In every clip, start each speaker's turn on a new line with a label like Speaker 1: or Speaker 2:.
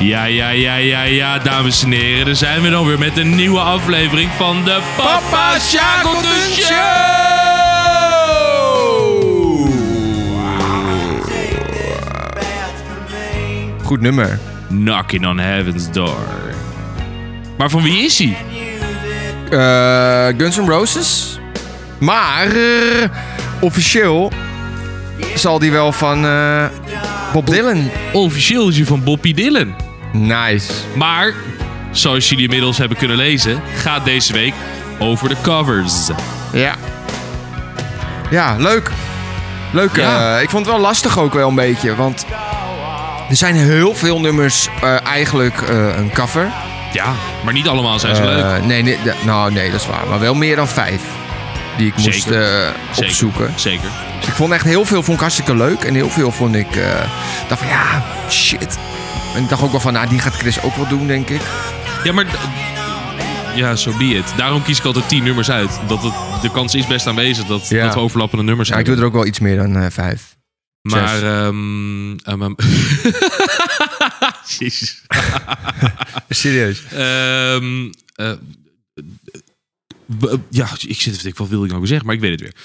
Speaker 1: Ja, ja, ja, ja, ja, dames en heren. Daar zijn we dan weer met een nieuwe aflevering van de Papa Shackleton Show!
Speaker 2: Goed nummer.
Speaker 1: Knocking on Heaven's Door. Maar van wie is hij?
Speaker 2: Eh, Guns N' Roses. Maar eh, officieel zal die wel van eh, Bob Dylan.
Speaker 1: Officieel is hij van Bobby Dylan.
Speaker 2: Nice.
Speaker 1: Maar, zoals jullie inmiddels hebben kunnen lezen, gaat deze week over de covers.
Speaker 2: Ja. Ja, leuk. Leuk.
Speaker 1: Ja.
Speaker 2: eh, ik vond het wel lastig ook wel een beetje. Want er zijn heel veel nummers eh, eigenlijk eh, een cover.
Speaker 1: Ja, maar niet allemaal zijn ze leuk.
Speaker 2: Eh, nee, nee, d- nou, nee, dat is waar. Maar wel meer dan vijf. Die ik moest
Speaker 1: Zeker.
Speaker 2: eh,
Speaker 1: Zeker.
Speaker 2: opzoeken.
Speaker 1: Zeker.
Speaker 2: Dus ik vond echt heel veel vond ik hartstikke leuk. En heel veel vond ik... eh, dacht van, ja, shit. En ik dacht ook wel van, nou, die gaat Chris ook wel doen, denk ik.
Speaker 1: Ja, maar... d- Ja, zo be it. Daarom kies ik altijd 10 nummers uit. Dat het, de kans is best aanwezig dat,
Speaker 2: Ja.
Speaker 1: dat we overlappende nummers
Speaker 2: Ja, Nou, ik
Speaker 1: hebben.
Speaker 2: doe er ook wel iets meer dan eh, vijf.
Speaker 1: Maar, ehm ehm, ehm, Jezus.
Speaker 2: Serieus.
Speaker 1: Ehm, eh, b- ja, ik zit even te denken, wat wilde ik nou weer zeggen? Maar ik weet het weer.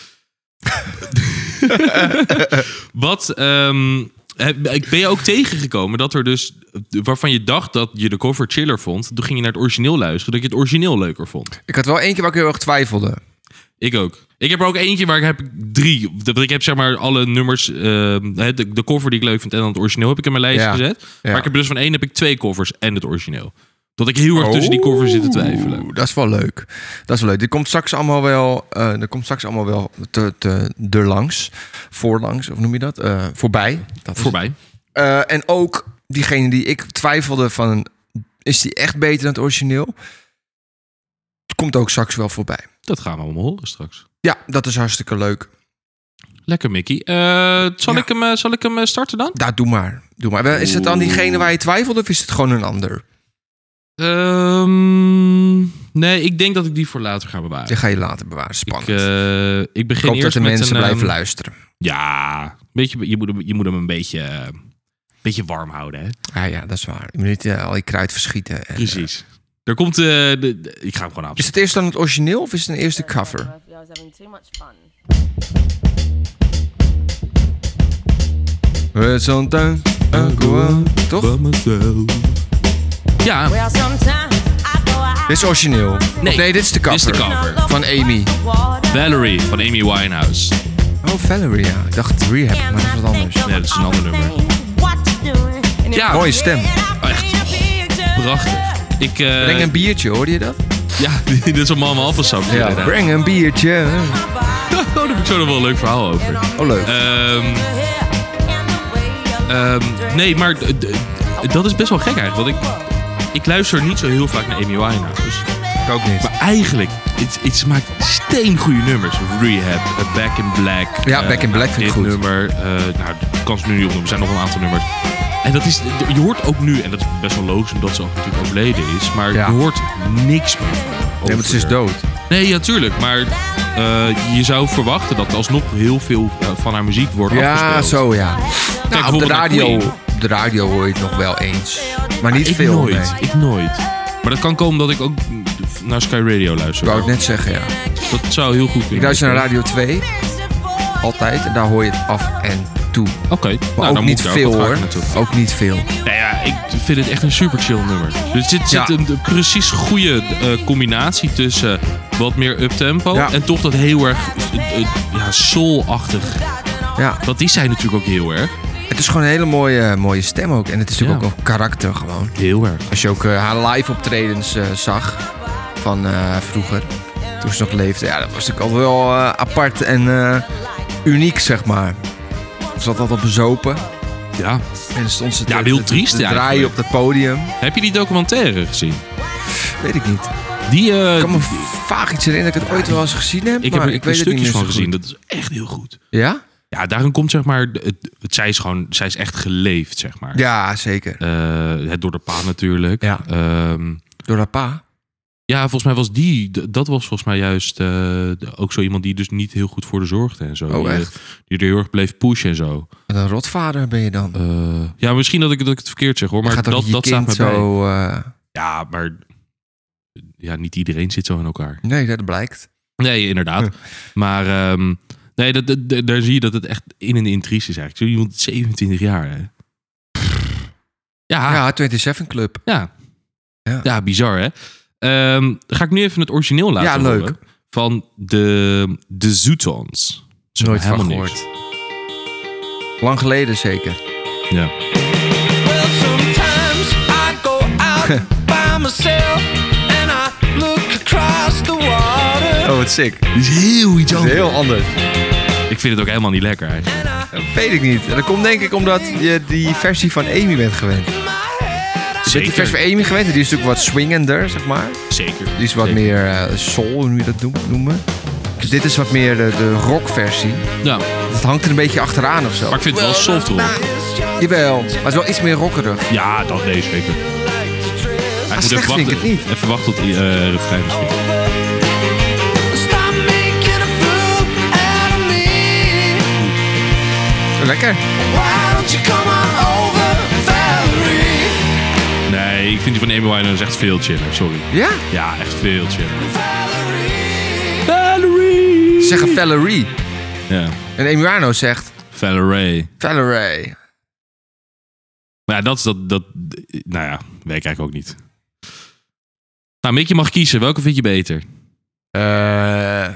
Speaker 1: wat, ehm, heb- ben je ook tegengekomen dat er dus, waarvan je dacht dat je de cover chiller vond, toen ging je naar het origineel luisteren, dat je het origineel leuker vond?
Speaker 2: Ik had wel één keer waar ik heel erg twijfelde.
Speaker 1: Ik ook. Ik heb er ook eentje waar ik heb drie. Dat Ik heb zeg maar alle nummers, ehm, hè, de, de cover die ik leuk vind en dan het origineel heb ik in mijn lijstje
Speaker 2: Ja.
Speaker 1: gezet.
Speaker 2: Ja.
Speaker 1: Maar ik heb dus van één heb ik twee covers en het origineel. Dat ik heel erg tussen die covers zit te twijfelen.
Speaker 2: Oeh, Oh. Dat is wel leuk. Dat is wel leuk. Dit komt straks allemaal wel, eh dit komt straks allemaal wel te, te, erlangs. Voorlangs, of noem je dat? Eh, voorbij. Dat is-
Speaker 1: Voorbij.
Speaker 2: Eh, en ook diegene die ik twijfelde van... Is die echt beter dan het origineel? Komt ook straks wel voorbij.
Speaker 1: Dat gaan we allemaal horen straks.
Speaker 2: Ja, dat is hartstikke leuk.
Speaker 1: Lekker, Mickey. Eh, zal,
Speaker 2: Ja.
Speaker 1: ik hem, eh, zal ik hem eh, starten dan?
Speaker 2: Ja, doe maar. Doe maar. Wel, Is het dan diegene waar je twijfelde of is het gewoon een ander?
Speaker 1: Ehm, nee, ik denk dat ik die voor later ga bewaren.
Speaker 2: Die ga je later bewaren. Spannend.
Speaker 1: ik,
Speaker 2: Ik,
Speaker 1: eh, ik begin
Speaker 2: hoop dat
Speaker 1: eerst
Speaker 2: de
Speaker 1: met
Speaker 2: mensen
Speaker 1: een,
Speaker 2: blijven
Speaker 1: ehm,
Speaker 2: luisteren.
Speaker 1: Ja, beetje, je, moet hem, je moet hem een beetje, eh, beetje warm houden. Hè?
Speaker 2: Ah ja, dat is waar. Je moet niet eh, al je kruid verschieten. En, eh,
Speaker 1: Precies. Er komt. eh, de, de- ik ga hem gewoon
Speaker 2: is
Speaker 1: afzetten.
Speaker 2: het eerst dan het origineel of is het een eerste cover?
Speaker 3: I was having too much fun.
Speaker 2: We zondag Toch?
Speaker 1: Ja,
Speaker 3: Well, sometimes I go out.
Speaker 2: Dit is origineel.
Speaker 1: Nee.
Speaker 2: Of nee, dit is de
Speaker 1: Dit
Speaker 2: cover.
Speaker 1: is de cover.
Speaker 2: Van Amy.
Speaker 1: Valerie van Amy Winehouse.
Speaker 2: Oh, Valerie, ja. Ik dacht Rehab, maar dat is wat anders.
Speaker 1: Nee, dat is een ander nummer. Ja.
Speaker 2: Mooie stem.
Speaker 1: Oh, Echt prachtig. Ik, eh,
Speaker 2: Breng een biertje, hoorde je dat?
Speaker 1: Ja, dit is een mama appelsap.
Speaker 2: Ja,
Speaker 1: inderdaad.
Speaker 2: breng een biertje.
Speaker 1: Oh, daar heb ik zo nog wel een leuk verhaal over.
Speaker 2: Oh, leuk.
Speaker 1: Ehm, ehm, nee, maar d- d- dat is best wel gek eigenlijk. Want ik, ik luister niet zo heel vaak naar Amy Winehouse.
Speaker 2: Ik ook niet.
Speaker 1: Maar eigenlijk, het, het, ze maakt steengoede nummers. Rehab, eh, Back in Black.
Speaker 2: Ja,
Speaker 1: eh,
Speaker 2: Back in Black vind ik
Speaker 1: dit
Speaker 2: goed.
Speaker 1: nummer. eh, nou, de kans nu niet opnoemen. Er zijn nog wel een aantal nummers. En dat is, je hoort ook nu, en dat is best wel logisch omdat ze ook natuurlijk overleden is, maar
Speaker 2: Ja.
Speaker 1: je hoort niks meer. over
Speaker 2: Nee, want ze is
Speaker 1: haar.
Speaker 2: dood.
Speaker 1: Nee, ja, tuurlijk. Maar eh, je zou verwachten dat er alsnog heel veel eh, van haar muziek wordt
Speaker 2: Ja,
Speaker 1: afgespeeld.
Speaker 2: zo ja. Nou, op de
Speaker 1: bijvoorbeeld naar
Speaker 2: radio,
Speaker 1: Queen.
Speaker 2: op de radio hoor je het nog wel eens. Maar niet
Speaker 1: ik
Speaker 2: veel,
Speaker 1: nooit,
Speaker 2: nee.
Speaker 1: ik nooit. Maar dat kan komen dat ik ook mm, naar Sky Radio luister.
Speaker 2: Ik wou het net zeggen, ja.
Speaker 1: Dat zou heel goed kunnen.
Speaker 2: Ik luister naar Radio 2, altijd. En daar hoor je het af en toe.
Speaker 1: Oké,
Speaker 2: Maar
Speaker 1: nou, dan
Speaker 2: ook
Speaker 1: moet
Speaker 2: niet
Speaker 1: ik daar
Speaker 2: veel,
Speaker 1: wat
Speaker 2: hoor.
Speaker 1: vaker naartoe.
Speaker 2: Ook niet veel.
Speaker 1: Nou ja, ik vind het echt een super chill nummer. Dus dit
Speaker 2: Ja.
Speaker 1: zit een de- precies goede eh, combinatie tussen wat meer uptempo
Speaker 2: Ja.
Speaker 1: en toch dat heel erg eh, eh, ja, soul-achtig.
Speaker 2: Ja,
Speaker 1: Dat is zij natuurlijk ook heel erg.
Speaker 2: het is gewoon een hele mooie, mooie stem ook. En het is natuurlijk
Speaker 1: Ja.
Speaker 2: ook wel karakter gewoon.
Speaker 1: Heel erg.
Speaker 2: Als je ook eh, haar live optredens eh, zag van eh, vroeger, toen ze nog leefde. Ja, dat was natuurlijk altijd wel eh, apart en eh, uniek, zeg maar. Ze zat altijd bezopen.
Speaker 1: Ja.
Speaker 2: En stond ze te,
Speaker 1: Ja, heel
Speaker 2: te-
Speaker 1: triest
Speaker 2: te draaien
Speaker 1: eigenlijk.
Speaker 2: op dat podium.
Speaker 1: Heb je die documentaire gezien?
Speaker 2: Weet ik niet. Ik
Speaker 1: Die, eh,
Speaker 2: kan me vaag iets herinneren dat ik het ooit wel eens gezien heb.
Speaker 1: ik heb
Speaker 2: maar
Speaker 1: er
Speaker 2: ik
Speaker 1: ik
Speaker 2: weet het niet
Speaker 1: stukjes
Speaker 2: meer zo
Speaker 1: van
Speaker 2: goed.
Speaker 1: gezien. Dat is echt heel goed.
Speaker 2: Ja?
Speaker 1: Ja, daarin komt zeg maar, het, het- zij, is gewoon, zij is echt geleefd, zeg maar.
Speaker 2: Ja, zeker.
Speaker 1: Eh, het door de pa natuurlijk.
Speaker 2: Ja.
Speaker 1: Ehm,
Speaker 2: Door haar pa.
Speaker 1: Ja, volgens mij was die, d- dat was volgens mij juist eh, de- ook zo iemand die dus niet heel goed voor de zorgde en zo.
Speaker 2: Oh,
Speaker 1: die, eh,
Speaker 2: echt?
Speaker 1: Die er heel erg bleef pushen en zo.
Speaker 2: Wat een rotvader ben je dan. Je
Speaker 1: Eh, ja, misschien dat ik, dat ik het verkeerd zeg hoor, maar
Speaker 2: gaat
Speaker 1: dat,
Speaker 2: toch niet je
Speaker 1: dat staat
Speaker 2: kind
Speaker 1: me bij.
Speaker 2: zo... eh,
Speaker 1: Ja, maar ja, niet iedereen zit zo in elkaar.
Speaker 2: nee, dat blijkt.
Speaker 1: Nee, inderdaad. Maar ehm, nee, dat, dat- dat- daar zie je dat het echt in een intrice is eigenlijk. Zo iemand 27 jaar, hè? Ja, ja.
Speaker 2: Ja, 27 Club.
Speaker 1: ja.
Speaker 2: Ja.
Speaker 1: bizar, hè? Ehm, dan ga ik nu even het origineel laten
Speaker 2: Ja, leuk.
Speaker 1: horen Van de, de Zootons. Zo
Speaker 2: Nooit van
Speaker 1: helemaal
Speaker 2: gehoord.
Speaker 1: niks.
Speaker 2: Lang geleden zeker.
Speaker 1: Ja.
Speaker 4: Well, sometimes I go out by myself and I look across the water
Speaker 2: Oh, wat sick.
Speaker 1: Die is heel iets anders.
Speaker 2: Heel anders.
Speaker 1: Ik vind het ook helemaal niet lekker eigenlijk.
Speaker 4: and I
Speaker 2: Weet ik niet. Dat komt denk ik omdat je die versie van Amy bent gewend. Je
Speaker 4: my head I
Speaker 2: bent die versie van Amy gewend. en Die is natuurlijk wat swingender, zeg maar.
Speaker 1: Zeker.
Speaker 2: Die is wat
Speaker 1: Zeker.
Speaker 2: meer eh, soul, hoe je dat noem- noemen. Dus dit is wat meer de, de rockversie.
Speaker 1: Ja,
Speaker 2: Het hangt er een beetje achteraan of zo.
Speaker 1: maar ik vind het wel soft hoor.
Speaker 4: is your
Speaker 2: Jawel, maar het is wel iets meer rockerig.
Speaker 1: Ja, dat nee, zeker.
Speaker 4: light to dress
Speaker 1: Hij moet
Speaker 2: slecht
Speaker 1: even
Speaker 2: vind ik
Speaker 1: wachten,
Speaker 2: het niet.
Speaker 1: even wachten tot die eh refrein misschien.
Speaker 4: over. Stop making a fool out of me.
Speaker 2: Lekker.
Speaker 4: Why don't you come on over, Valerie?
Speaker 1: Nee, ik vind die van Amy Winehouse echt veel chiller, sorry.
Speaker 2: Ja?
Speaker 1: Ja, echt veel chiller.
Speaker 4: Valerie.
Speaker 1: Valerie!
Speaker 2: Ze zeggen Valerie.
Speaker 1: Ja,
Speaker 2: En Emiliano zegt
Speaker 1: Valerie.
Speaker 2: Valerie.
Speaker 1: Maar ja, dat is dat, dat... Nou ja, weet ik eigenlijk ook niet. Nou, Mick, je mag kiezen. Welke vind je beter?
Speaker 2: Eh,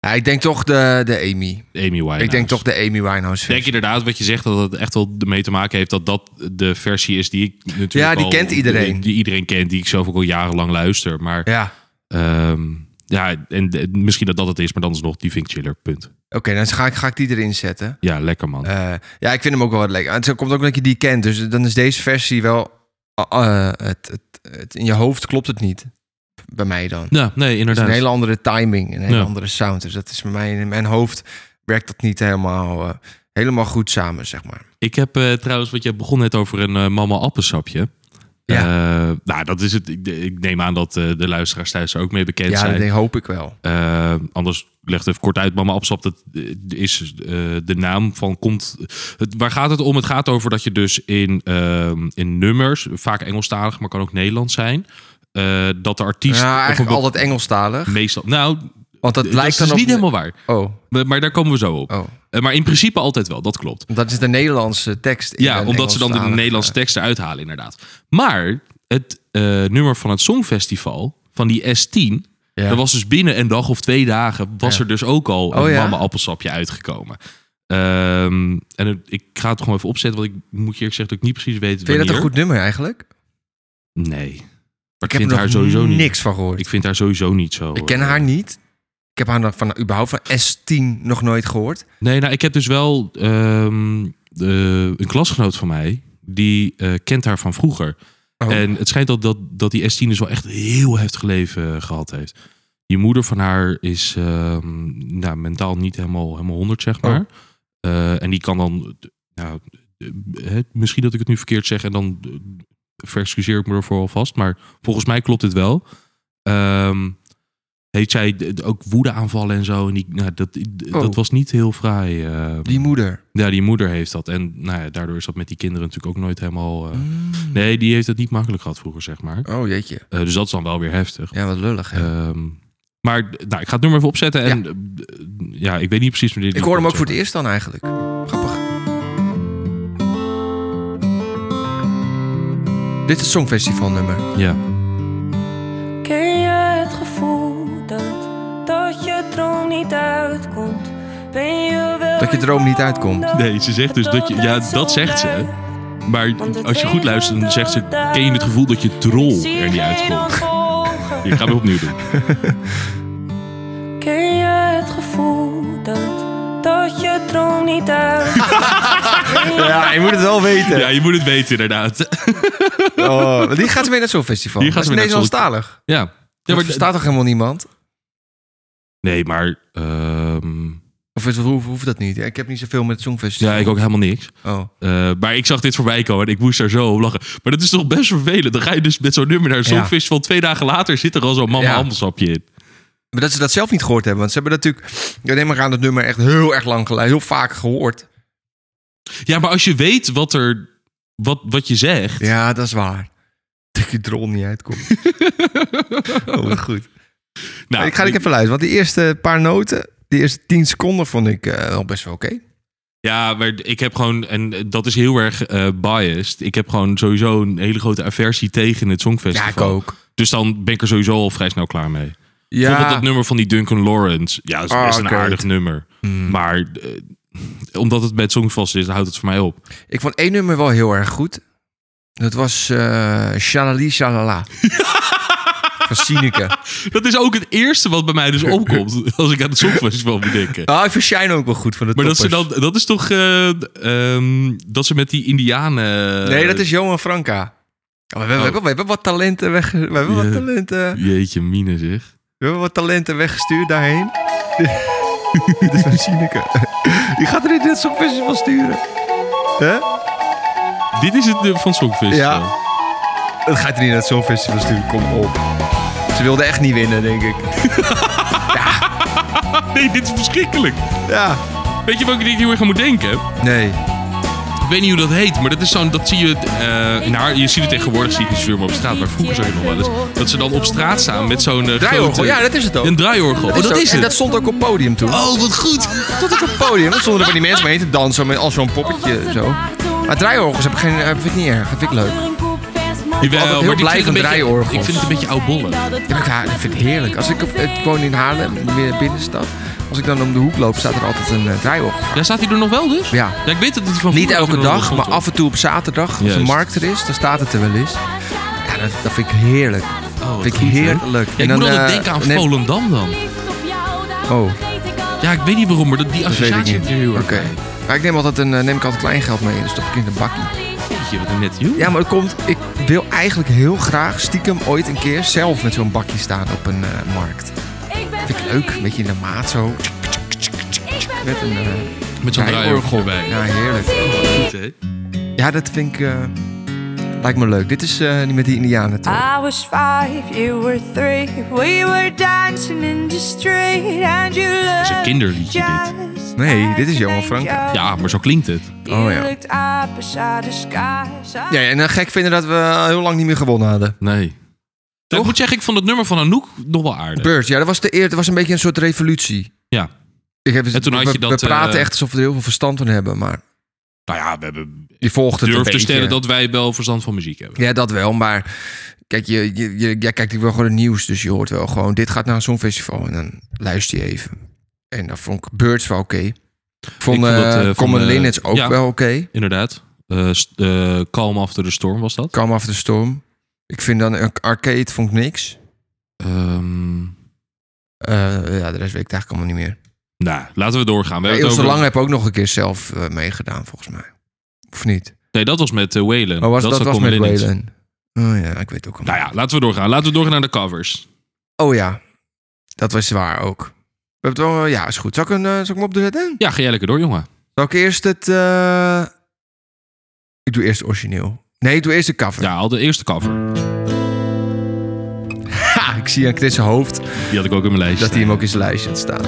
Speaker 2: ja, ik denk toch de, de Amy.
Speaker 1: Amy Winehouse.
Speaker 2: Ik denk toch de Amy Winehouse.
Speaker 1: Ik denk inderdaad wat je zegt dat het echt wel ermee te maken heeft dat dat de versie is die ik natuurlijk
Speaker 2: Ja, die
Speaker 1: al-
Speaker 2: kent iedereen.
Speaker 1: die iedereen kent, die ik zelf ook al jarenlang luister. Maar
Speaker 2: Ja.
Speaker 1: Ehm, ja, en de- misschien dat dat het is, maar dan is nog die vind ik chiller, punt.
Speaker 2: Oké, dan ga ik, ga ik die erin zetten.
Speaker 1: Ja, lekker man.
Speaker 2: Eh, ja, ik vind hem ook wel wat lekker. Het komt ook omdat je die kent. Dus dan is deze versie wel... ah, eh, het, het, het- in je hoofd klopt het niet. Bij mij dan.
Speaker 1: ja, nee,
Speaker 2: Het is
Speaker 1: inderdaad.
Speaker 2: een hele andere timing. Een hele
Speaker 1: Ja.
Speaker 2: andere sound. Dus dat is bij mij... In mijn hoofd werkt dat niet helemaal, eh, helemaal goed samen, zeg maar.
Speaker 1: Ik heb eh, trouwens, wat je begon net over een eh, mama appelsapje.
Speaker 2: Ja.
Speaker 1: Eh, nou, dat is het. Ik, ik neem aan dat eh, de luisteraars thuis er ook mee bekend
Speaker 2: ja,
Speaker 1: zijn.
Speaker 2: dat denk- hoop ik wel.
Speaker 1: Eh, anders leg het even kort uit. Mama Appelsap, dat eh, is eh, de naam van komt. Het, waar gaat het om? Het gaat over dat je dus in, ehm, in nummers, vaak Engelstalig, maar kan ook Nederlands zijn. eh, dat de artiest.
Speaker 2: Ja,
Speaker 1: op een
Speaker 2: eigenlijk
Speaker 1: be-
Speaker 2: altijd Engelstalig.
Speaker 1: Meestal. Nou,
Speaker 2: Want dat
Speaker 1: d-
Speaker 2: lijkt
Speaker 1: dat
Speaker 2: dan
Speaker 1: is dus
Speaker 2: op...
Speaker 1: niet helemaal waar.
Speaker 2: Oh,
Speaker 1: Maar maar daar komen we zo op.
Speaker 2: oh.
Speaker 1: Eh, Maar in principe altijd wel, dat klopt.
Speaker 2: Dat is de Nederlandse tekst. in
Speaker 1: Ja,
Speaker 2: een
Speaker 1: omdat ze dan de
Speaker 2: Engelstalige-
Speaker 1: Nederlandse teksten uithalen, inderdaad. Maar het eh, nummer van het Songfestival, van die S10,
Speaker 2: Ja.
Speaker 1: dat was dus binnen een dag of twee dagen, was
Speaker 2: Ja.
Speaker 1: er dus ook al
Speaker 2: Oh
Speaker 1: een
Speaker 2: ja?
Speaker 1: mama appelsapje uitgekomen. Ehm, en het- ik ga het gewoon even opzetten, want ik moet je eerlijk zeggen dat ik niet precies weet
Speaker 2: Vind je dat een
Speaker 1: wanneer.
Speaker 2: goed nummer eigenlijk?
Speaker 1: Nee. Maar
Speaker 2: Ik heb
Speaker 1: ik, vind
Speaker 2: er
Speaker 1: haar
Speaker 2: nog
Speaker 1: sowieso niet.
Speaker 2: niks van gehoord.
Speaker 1: Ik vind haar sowieso niet zo.
Speaker 2: Ik ken
Speaker 1: eh,
Speaker 2: haar niet. Ik heb haar nog van, überhaupt van S10 nog nooit gehoord.
Speaker 1: Nee, nou, ik heb dus wel ehm, eh, een klasgenoot van mij. Die eh, kent haar van vroeger.
Speaker 2: Oh.
Speaker 1: En het schijnt dat, dat, dat die S10 dus wel echt een heel heftig leven eh, gehad heeft. Die moeder van haar is ehm, nou, mentaal niet helemaal, helemaal 100, zeg
Speaker 2: Oh.
Speaker 1: maar. Eh, en die kan dan. eh, Nou, eh, hè, misschien dat ik het nu verkeerd zeg en dan eh, verexcuseer ik me ervoor alvast. Maar volgens mij klopt dit wel. Ehm heeft zij d- ook woedeaanvallen en zo. En die, nou, dat, d-
Speaker 2: Oh.
Speaker 1: dat was niet heel fraai. eh.
Speaker 2: Die moeder.
Speaker 1: ja, die moeder heeft dat. En nou ja, daardoor is dat met die kinderen natuurlijk ook nooit helemaal... eh, Nee, die heeft het niet makkelijk gehad vroeger, zeg maar.
Speaker 2: Oh jeetje.
Speaker 1: Eh, dus dat is dan wel weer heftig.
Speaker 2: Ja, wat lullig. hè.
Speaker 1: Ehm, maar nou, ik ga het nummer even opzetten. En eh, ja, ik weet niet precies wanneer
Speaker 2: ik
Speaker 1: die
Speaker 2: hoor hem ook
Speaker 1: komt,
Speaker 2: voor het
Speaker 1: zeg
Speaker 2: eerst dan eigenlijk. Grappig. Dit is het Songfestivalnummer.
Speaker 1: maar. Ja.
Speaker 5: Ken je het gevoel dat, dat je droom niet uitkomt? Ben je wel
Speaker 2: Dat je droom niet uitkomt.
Speaker 1: Nee, ze zegt dus dat je... Ja, dat zegt ze. Maar als je goed luistert, dan zegt ze... Ken je het gevoel dat je drol er niet uitkomt? Ik ga weer opnieuw doen.
Speaker 5: Ken je het gevoel dat, dat je droom niet uitkomt?
Speaker 2: Ja, je moet het wel weten.
Speaker 1: Ja, je moet het weten inderdaad.
Speaker 2: Oh, die gaat ze mee naar het Songfestival.
Speaker 1: Die gaat
Speaker 2: dat is
Speaker 1: ze mee naar het
Speaker 2: Nederlandstalig.
Speaker 1: Ja. ja
Speaker 2: Er
Speaker 1: maar,
Speaker 2: staat toch helemaal niemand?
Speaker 1: nee, maar... ehm,
Speaker 2: Of is, hoeft, hoeft dat niet? Ik heb niet zoveel met songfestivals.
Speaker 1: Ja, ik ook helemaal niks.
Speaker 2: Oh.
Speaker 1: Eh, maar ik zag dit voorbij komen en ik moest daar zo om lachen. Maar dat is toch best vervelend. Dan ga je dus met zo'n nummer naar een
Speaker 2: Ja.
Speaker 1: songfestival. Twee dagen later zit er al zo'n mama
Speaker 2: Ja.
Speaker 1: handelsapje in.
Speaker 2: Maar dat ze dat zelf niet gehoord hebben. Want ze hebben natuurlijk... Ik neem maar aan dat nummer echt heel erg lang geluid. Heel vaak gehoord.
Speaker 1: Ja, maar als je weet wat, er, wat, wat je zegt.
Speaker 2: Ja, dat is waar. Dat je drol niet uitkomt. oh, wat goed.
Speaker 1: Nou,
Speaker 2: ik ga ik even luisteren. Want de eerste paar noten... De eerste tien seconden vond ik eh, wel best wel oké.
Speaker 1: Ja, maar ik heb gewoon, en dat is heel erg eh, biased. Ik heb gewoon sowieso een hele grote aversie tegen het Songfestival. Dus dan ben ik er sowieso al vrij snel klaar mee. Bijvoorbeeld dat nummer van die Duncan Lawrence. Ja, dat is
Speaker 2: Ah,
Speaker 1: best een
Speaker 2: oké. Hmm.
Speaker 1: aardig nummer. Maar eh, omdat het bij het Songfestival is, dan houdt het voor mij op.
Speaker 2: Ik vond één nummer wel heel erg goed. Dat was eh Shalali Shalala. van Sineke.
Speaker 1: Dat is ook het eerste wat bij mij dus opkomt. als ik aan het Songfestival moet denken.
Speaker 2: Ah, ik vind Shine ook wel goed van de
Speaker 1: Maar dat, ze
Speaker 2: toppers.
Speaker 1: dan, dat is toch eh, ehm, dat ze met die indianen...
Speaker 2: Nee, dat is Johan Franka. Oh, we, hebben,
Speaker 1: Eh, Oh.
Speaker 2: we hebben wat talenten weg... We hebben wat
Speaker 1: Ja.
Speaker 2: talenten...
Speaker 1: Jeetje, mine zeg.
Speaker 2: We hebben wat talenten weggestuurd daarheen. Dit is van Sineke. Die gaat er niet dit songfestival sturen. Hè?
Speaker 1: Dit is het nummer van het Songfestival.
Speaker 2: Ja. Dat gaat er niet naar het songfestival sturen. Kom op. Ze wilde echt niet winnen, denk ik.
Speaker 1: Nee, dit is verschrikkelijk.
Speaker 2: Ja.
Speaker 1: Weet je wat ik denk heel erg aan moet denken?
Speaker 2: Nee.
Speaker 1: Ik weet niet hoe dat heet, maar dat is zo'n... Dat zie je... eh, nou, je ziet het tegenwoordig, zie je het niet zoveel meer op straat. Maar vroeger zag je nog wel eens... Dat ze dan op straat staan met zo'n eh,
Speaker 2: Draaiorgel,
Speaker 1: grote-
Speaker 2: ja, dat is het ook.
Speaker 1: Een draaiorgel. oh, dat
Speaker 2: ook.
Speaker 1: is
Speaker 2: En
Speaker 1: het.
Speaker 2: dat stond ook op podium toen.
Speaker 1: Oh, wat goed.
Speaker 2: Tot ik op podium. Dan stonden er van die mensen mee te dansen met als zo'n
Speaker 3: Oh,
Speaker 2: poppetje zo. Maar draaiorgels heb ik, geen, heb, vind ik niet erg. Dat vind ik leuk.
Speaker 1: Jawel,
Speaker 2: altijd heel
Speaker 1: maar ik
Speaker 2: blij
Speaker 1: vind het
Speaker 2: van
Speaker 1: een beetje-
Speaker 2: draaiorgels.
Speaker 1: Ik vind het een beetje oudbollen.
Speaker 2: Ja, maar ik, ha- ik vind het heerlijk. Als ik, op, ik woon in Haarlem, meer binnenstad. Als ik dan om de hoek loop, staat er altijd een eh, draaiorgel.
Speaker 1: Ja, staat hij er nog wel dus?
Speaker 2: Ja.
Speaker 1: ik weet dat het van
Speaker 2: Niet
Speaker 1: vroeger
Speaker 2: elke
Speaker 1: nog wel
Speaker 2: dag,
Speaker 1: stond,
Speaker 2: maar
Speaker 1: hoor.
Speaker 2: af en toe op zaterdag. Als de
Speaker 1: Juist.
Speaker 2: markt er is, dan staat het er wel eens. Ja, dat, dat vind ik heerlijk.
Speaker 1: Oh, wat
Speaker 2: vind ik
Speaker 1: goed, hè?
Speaker 2: heerlijk.
Speaker 1: Ja, ik moet altijd
Speaker 2: eh,
Speaker 1: denken aan
Speaker 2: neem-
Speaker 1: Volendam dan.
Speaker 2: Oh,
Speaker 1: Ja, ik weet niet waarom, maar dat, die
Speaker 2: dat weet ik
Speaker 1: associatie
Speaker 2: niet.
Speaker 1: heb je heel
Speaker 2: Oké.
Speaker 1: erg.
Speaker 2: Maar ik neem altijd een, eh, neem ik altijd kleingeld mee en dan stop ik in de bakkie.
Speaker 1: Jeetje, wat een net joh.
Speaker 2: Ja, maar het komt. Ik wil eigenlijk heel graag stiekem ooit een keer zelf met zo'n bakje staan op een eh, markt. Vind ik leuk, een beetje in de maat zo. Met een eh,
Speaker 1: Met zo'n draaiorgel bij.
Speaker 2: Ja, heerlijk.
Speaker 1: Goed, hè?
Speaker 2: Ja, dat vind ik. eh, lijkt me leuk. Dit is eh, die met die Indianen toch?
Speaker 5: I was five, you were three. We were dancing in the street and you
Speaker 1: is
Speaker 5: loved
Speaker 1: een kinderliedje, dit.
Speaker 5: just
Speaker 2: Nee, dit is
Speaker 5: as an
Speaker 2: Johan Franke.
Speaker 5: angel.
Speaker 1: Ja, maar zo klinkt het.
Speaker 2: Oh, ja.
Speaker 5: You looked up beside the skies. I
Speaker 2: Ja, en dan gek vinden dat we heel lang niet meer gewonnen hadden.
Speaker 1: Nee. Dus Ik moet zeggen, ik vond het nummer van Anouk nog wel aardig.
Speaker 2: Bird, ja, dat was, de eer, dat was een beetje een soort revolutie.
Speaker 1: Ja.
Speaker 2: Ik heb,
Speaker 1: En toen had
Speaker 2: we,
Speaker 1: je dat,
Speaker 2: we praten
Speaker 1: eh,
Speaker 2: echt alsof we er heel veel verstand van hebben, maar
Speaker 1: Nou ja, we hebben
Speaker 2: je volgt het een
Speaker 1: durf te
Speaker 2: beetje.
Speaker 1: stellen dat wij wel verstand van muziek hebben.
Speaker 2: Ja, dat wel, maar kijk, je, je, je, jij kijkt wel gewoon het nieuws, dus je hoort wel gewoon... dit gaat naar een songfestival en dan luister je even. En dan vond ik Birds wel oké. Vond,
Speaker 1: vond
Speaker 2: eh
Speaker 1: dat, eh, van,
Speaker 2: Common
Speaker 1: eh,
Speaker 2: Linnets ook
Speaker 1: ja.
Speaker 2: wel oké.
Speaker 1: Inderdaad. Eh, st- eh, Calm After the Storm was dat.
Speaker 2: Calm After the Storm. Ik vind dan eh, Arcade vond ik niks.
Speaker 1: Ehm,
Speaker 2: Eh, ja, de rest weet ik het eigenlijk allemaal niet meer.
Speaker 1: nou, laten we doorgaan. We hebben
Speaker 2: Eels
Speaker 1: het
Speaker 2: de
Speaker 1: over-
Speaker 2: Lange heb ook nog een keer zelf eh, meegedaan, volgens mij. Of niet?
Speaker 1: Nee, dat was met eh, Waylon.
Speaker 2: Oh, was, dat,
Speaker 1: zou
Speaker 2: was
Speaker 1: Common
Speaker 2: met
Speaker 1: Linux.
Speaker 2: Waylon. Oh ja, ik weet ook al.
Speaker 1: Nou ja, laten we doorgaan. Laten we doorgaan naar de covers.
Speaker 2: Oh ja, dat was waar ook. We hebben het wel, ja, is goed. Zal ik, een, eh, zal ik hem opzetten?
Speaker 1: Ja, ga jij lekker door, jongen.
Speaker 2: Zal ik eerst het... eh, Ik doe eerst het origineel. Nee, ik doe eerst de cover.
Speaker 1: Ja, al de eerste cover.
Speaker 2: Ha, ik zie aan Chris' hoofd
Speaker 1: Die had ik ook in mijn lijstje.
Speaker 2: dat hij hem ook in zijn lijstje had staan.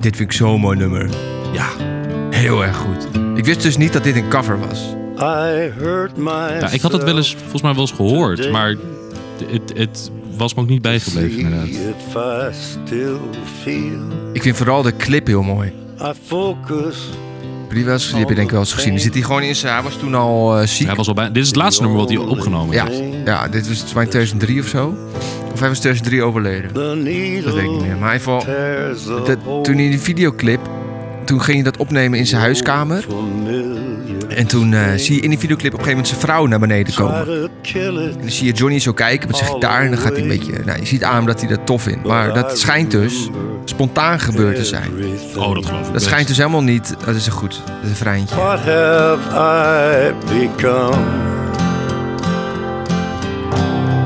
Speaker 2: Dit vind ik zo'n mooi nummer.
Speaker 1: Ja.
Speaker 2: Heel erg goed. Ik wist dus niet dat dit een cover was.
Speaker 6: I hurt myself.
Speaker 1: ja, Nou, ik had dat wel eens, volgens mij wel eens gehoord, maar het, het was me ook niet bijgebleven, inderdaad.
Speaker 6: See if I still feel.
Speaker 2: Ik vind vooral de clip heel mooi.
Speaker 6: I focus
Speaker 2: Die, wel eens- die heb je denk ik wel eens gezien. Die zit hij gewoon in zijn... Hij was toen al eh, ziek.
Speaker 1: Hij was al bij... Dit is het laatste nummer wat hij opgenomen
Speaker 2: Ja,
Speaker 1: heeft.
Speaker 2: ja dit was volgens mij 2003 of zo. Of hij was 2003 overleden.
Speaker 6: the needle.
Speaker 2: Dat weet ik niet meer. Maar hij geval,
Speaker 6: tears a
Speaker 2: dat-
Speaker 6: hole
Speaker 2: toen in die videoclip... Toen ging je dat opnemen in zijn huiskamer.
Speaker 6: familiar.
Speaker 2: En toen eh, zie je in die videoclip op een gegeven moment zijn vrouw naar beneden komen.
Speaker 6: Try
Speaker 2: En
Speaker 6: to kill it,
Speaker 2: dan zie je Johnny zo kijken met zijn gitaar. En dan gaat hij een beetje... Nou, je ziet aan hem dat hij dat tof vindt. Maar dat schijnt dus spontaan gebeurd te zijn.
Speaker 6: everything.
Speaker 1: Oh, dat geloof ik
Speaker 2: Dat
Speaker 1: best.
Speaker 2: schijnt dus helemaal niet... Dat is een goed. Dat is een vrijntje.
Speaker 6: What have I become?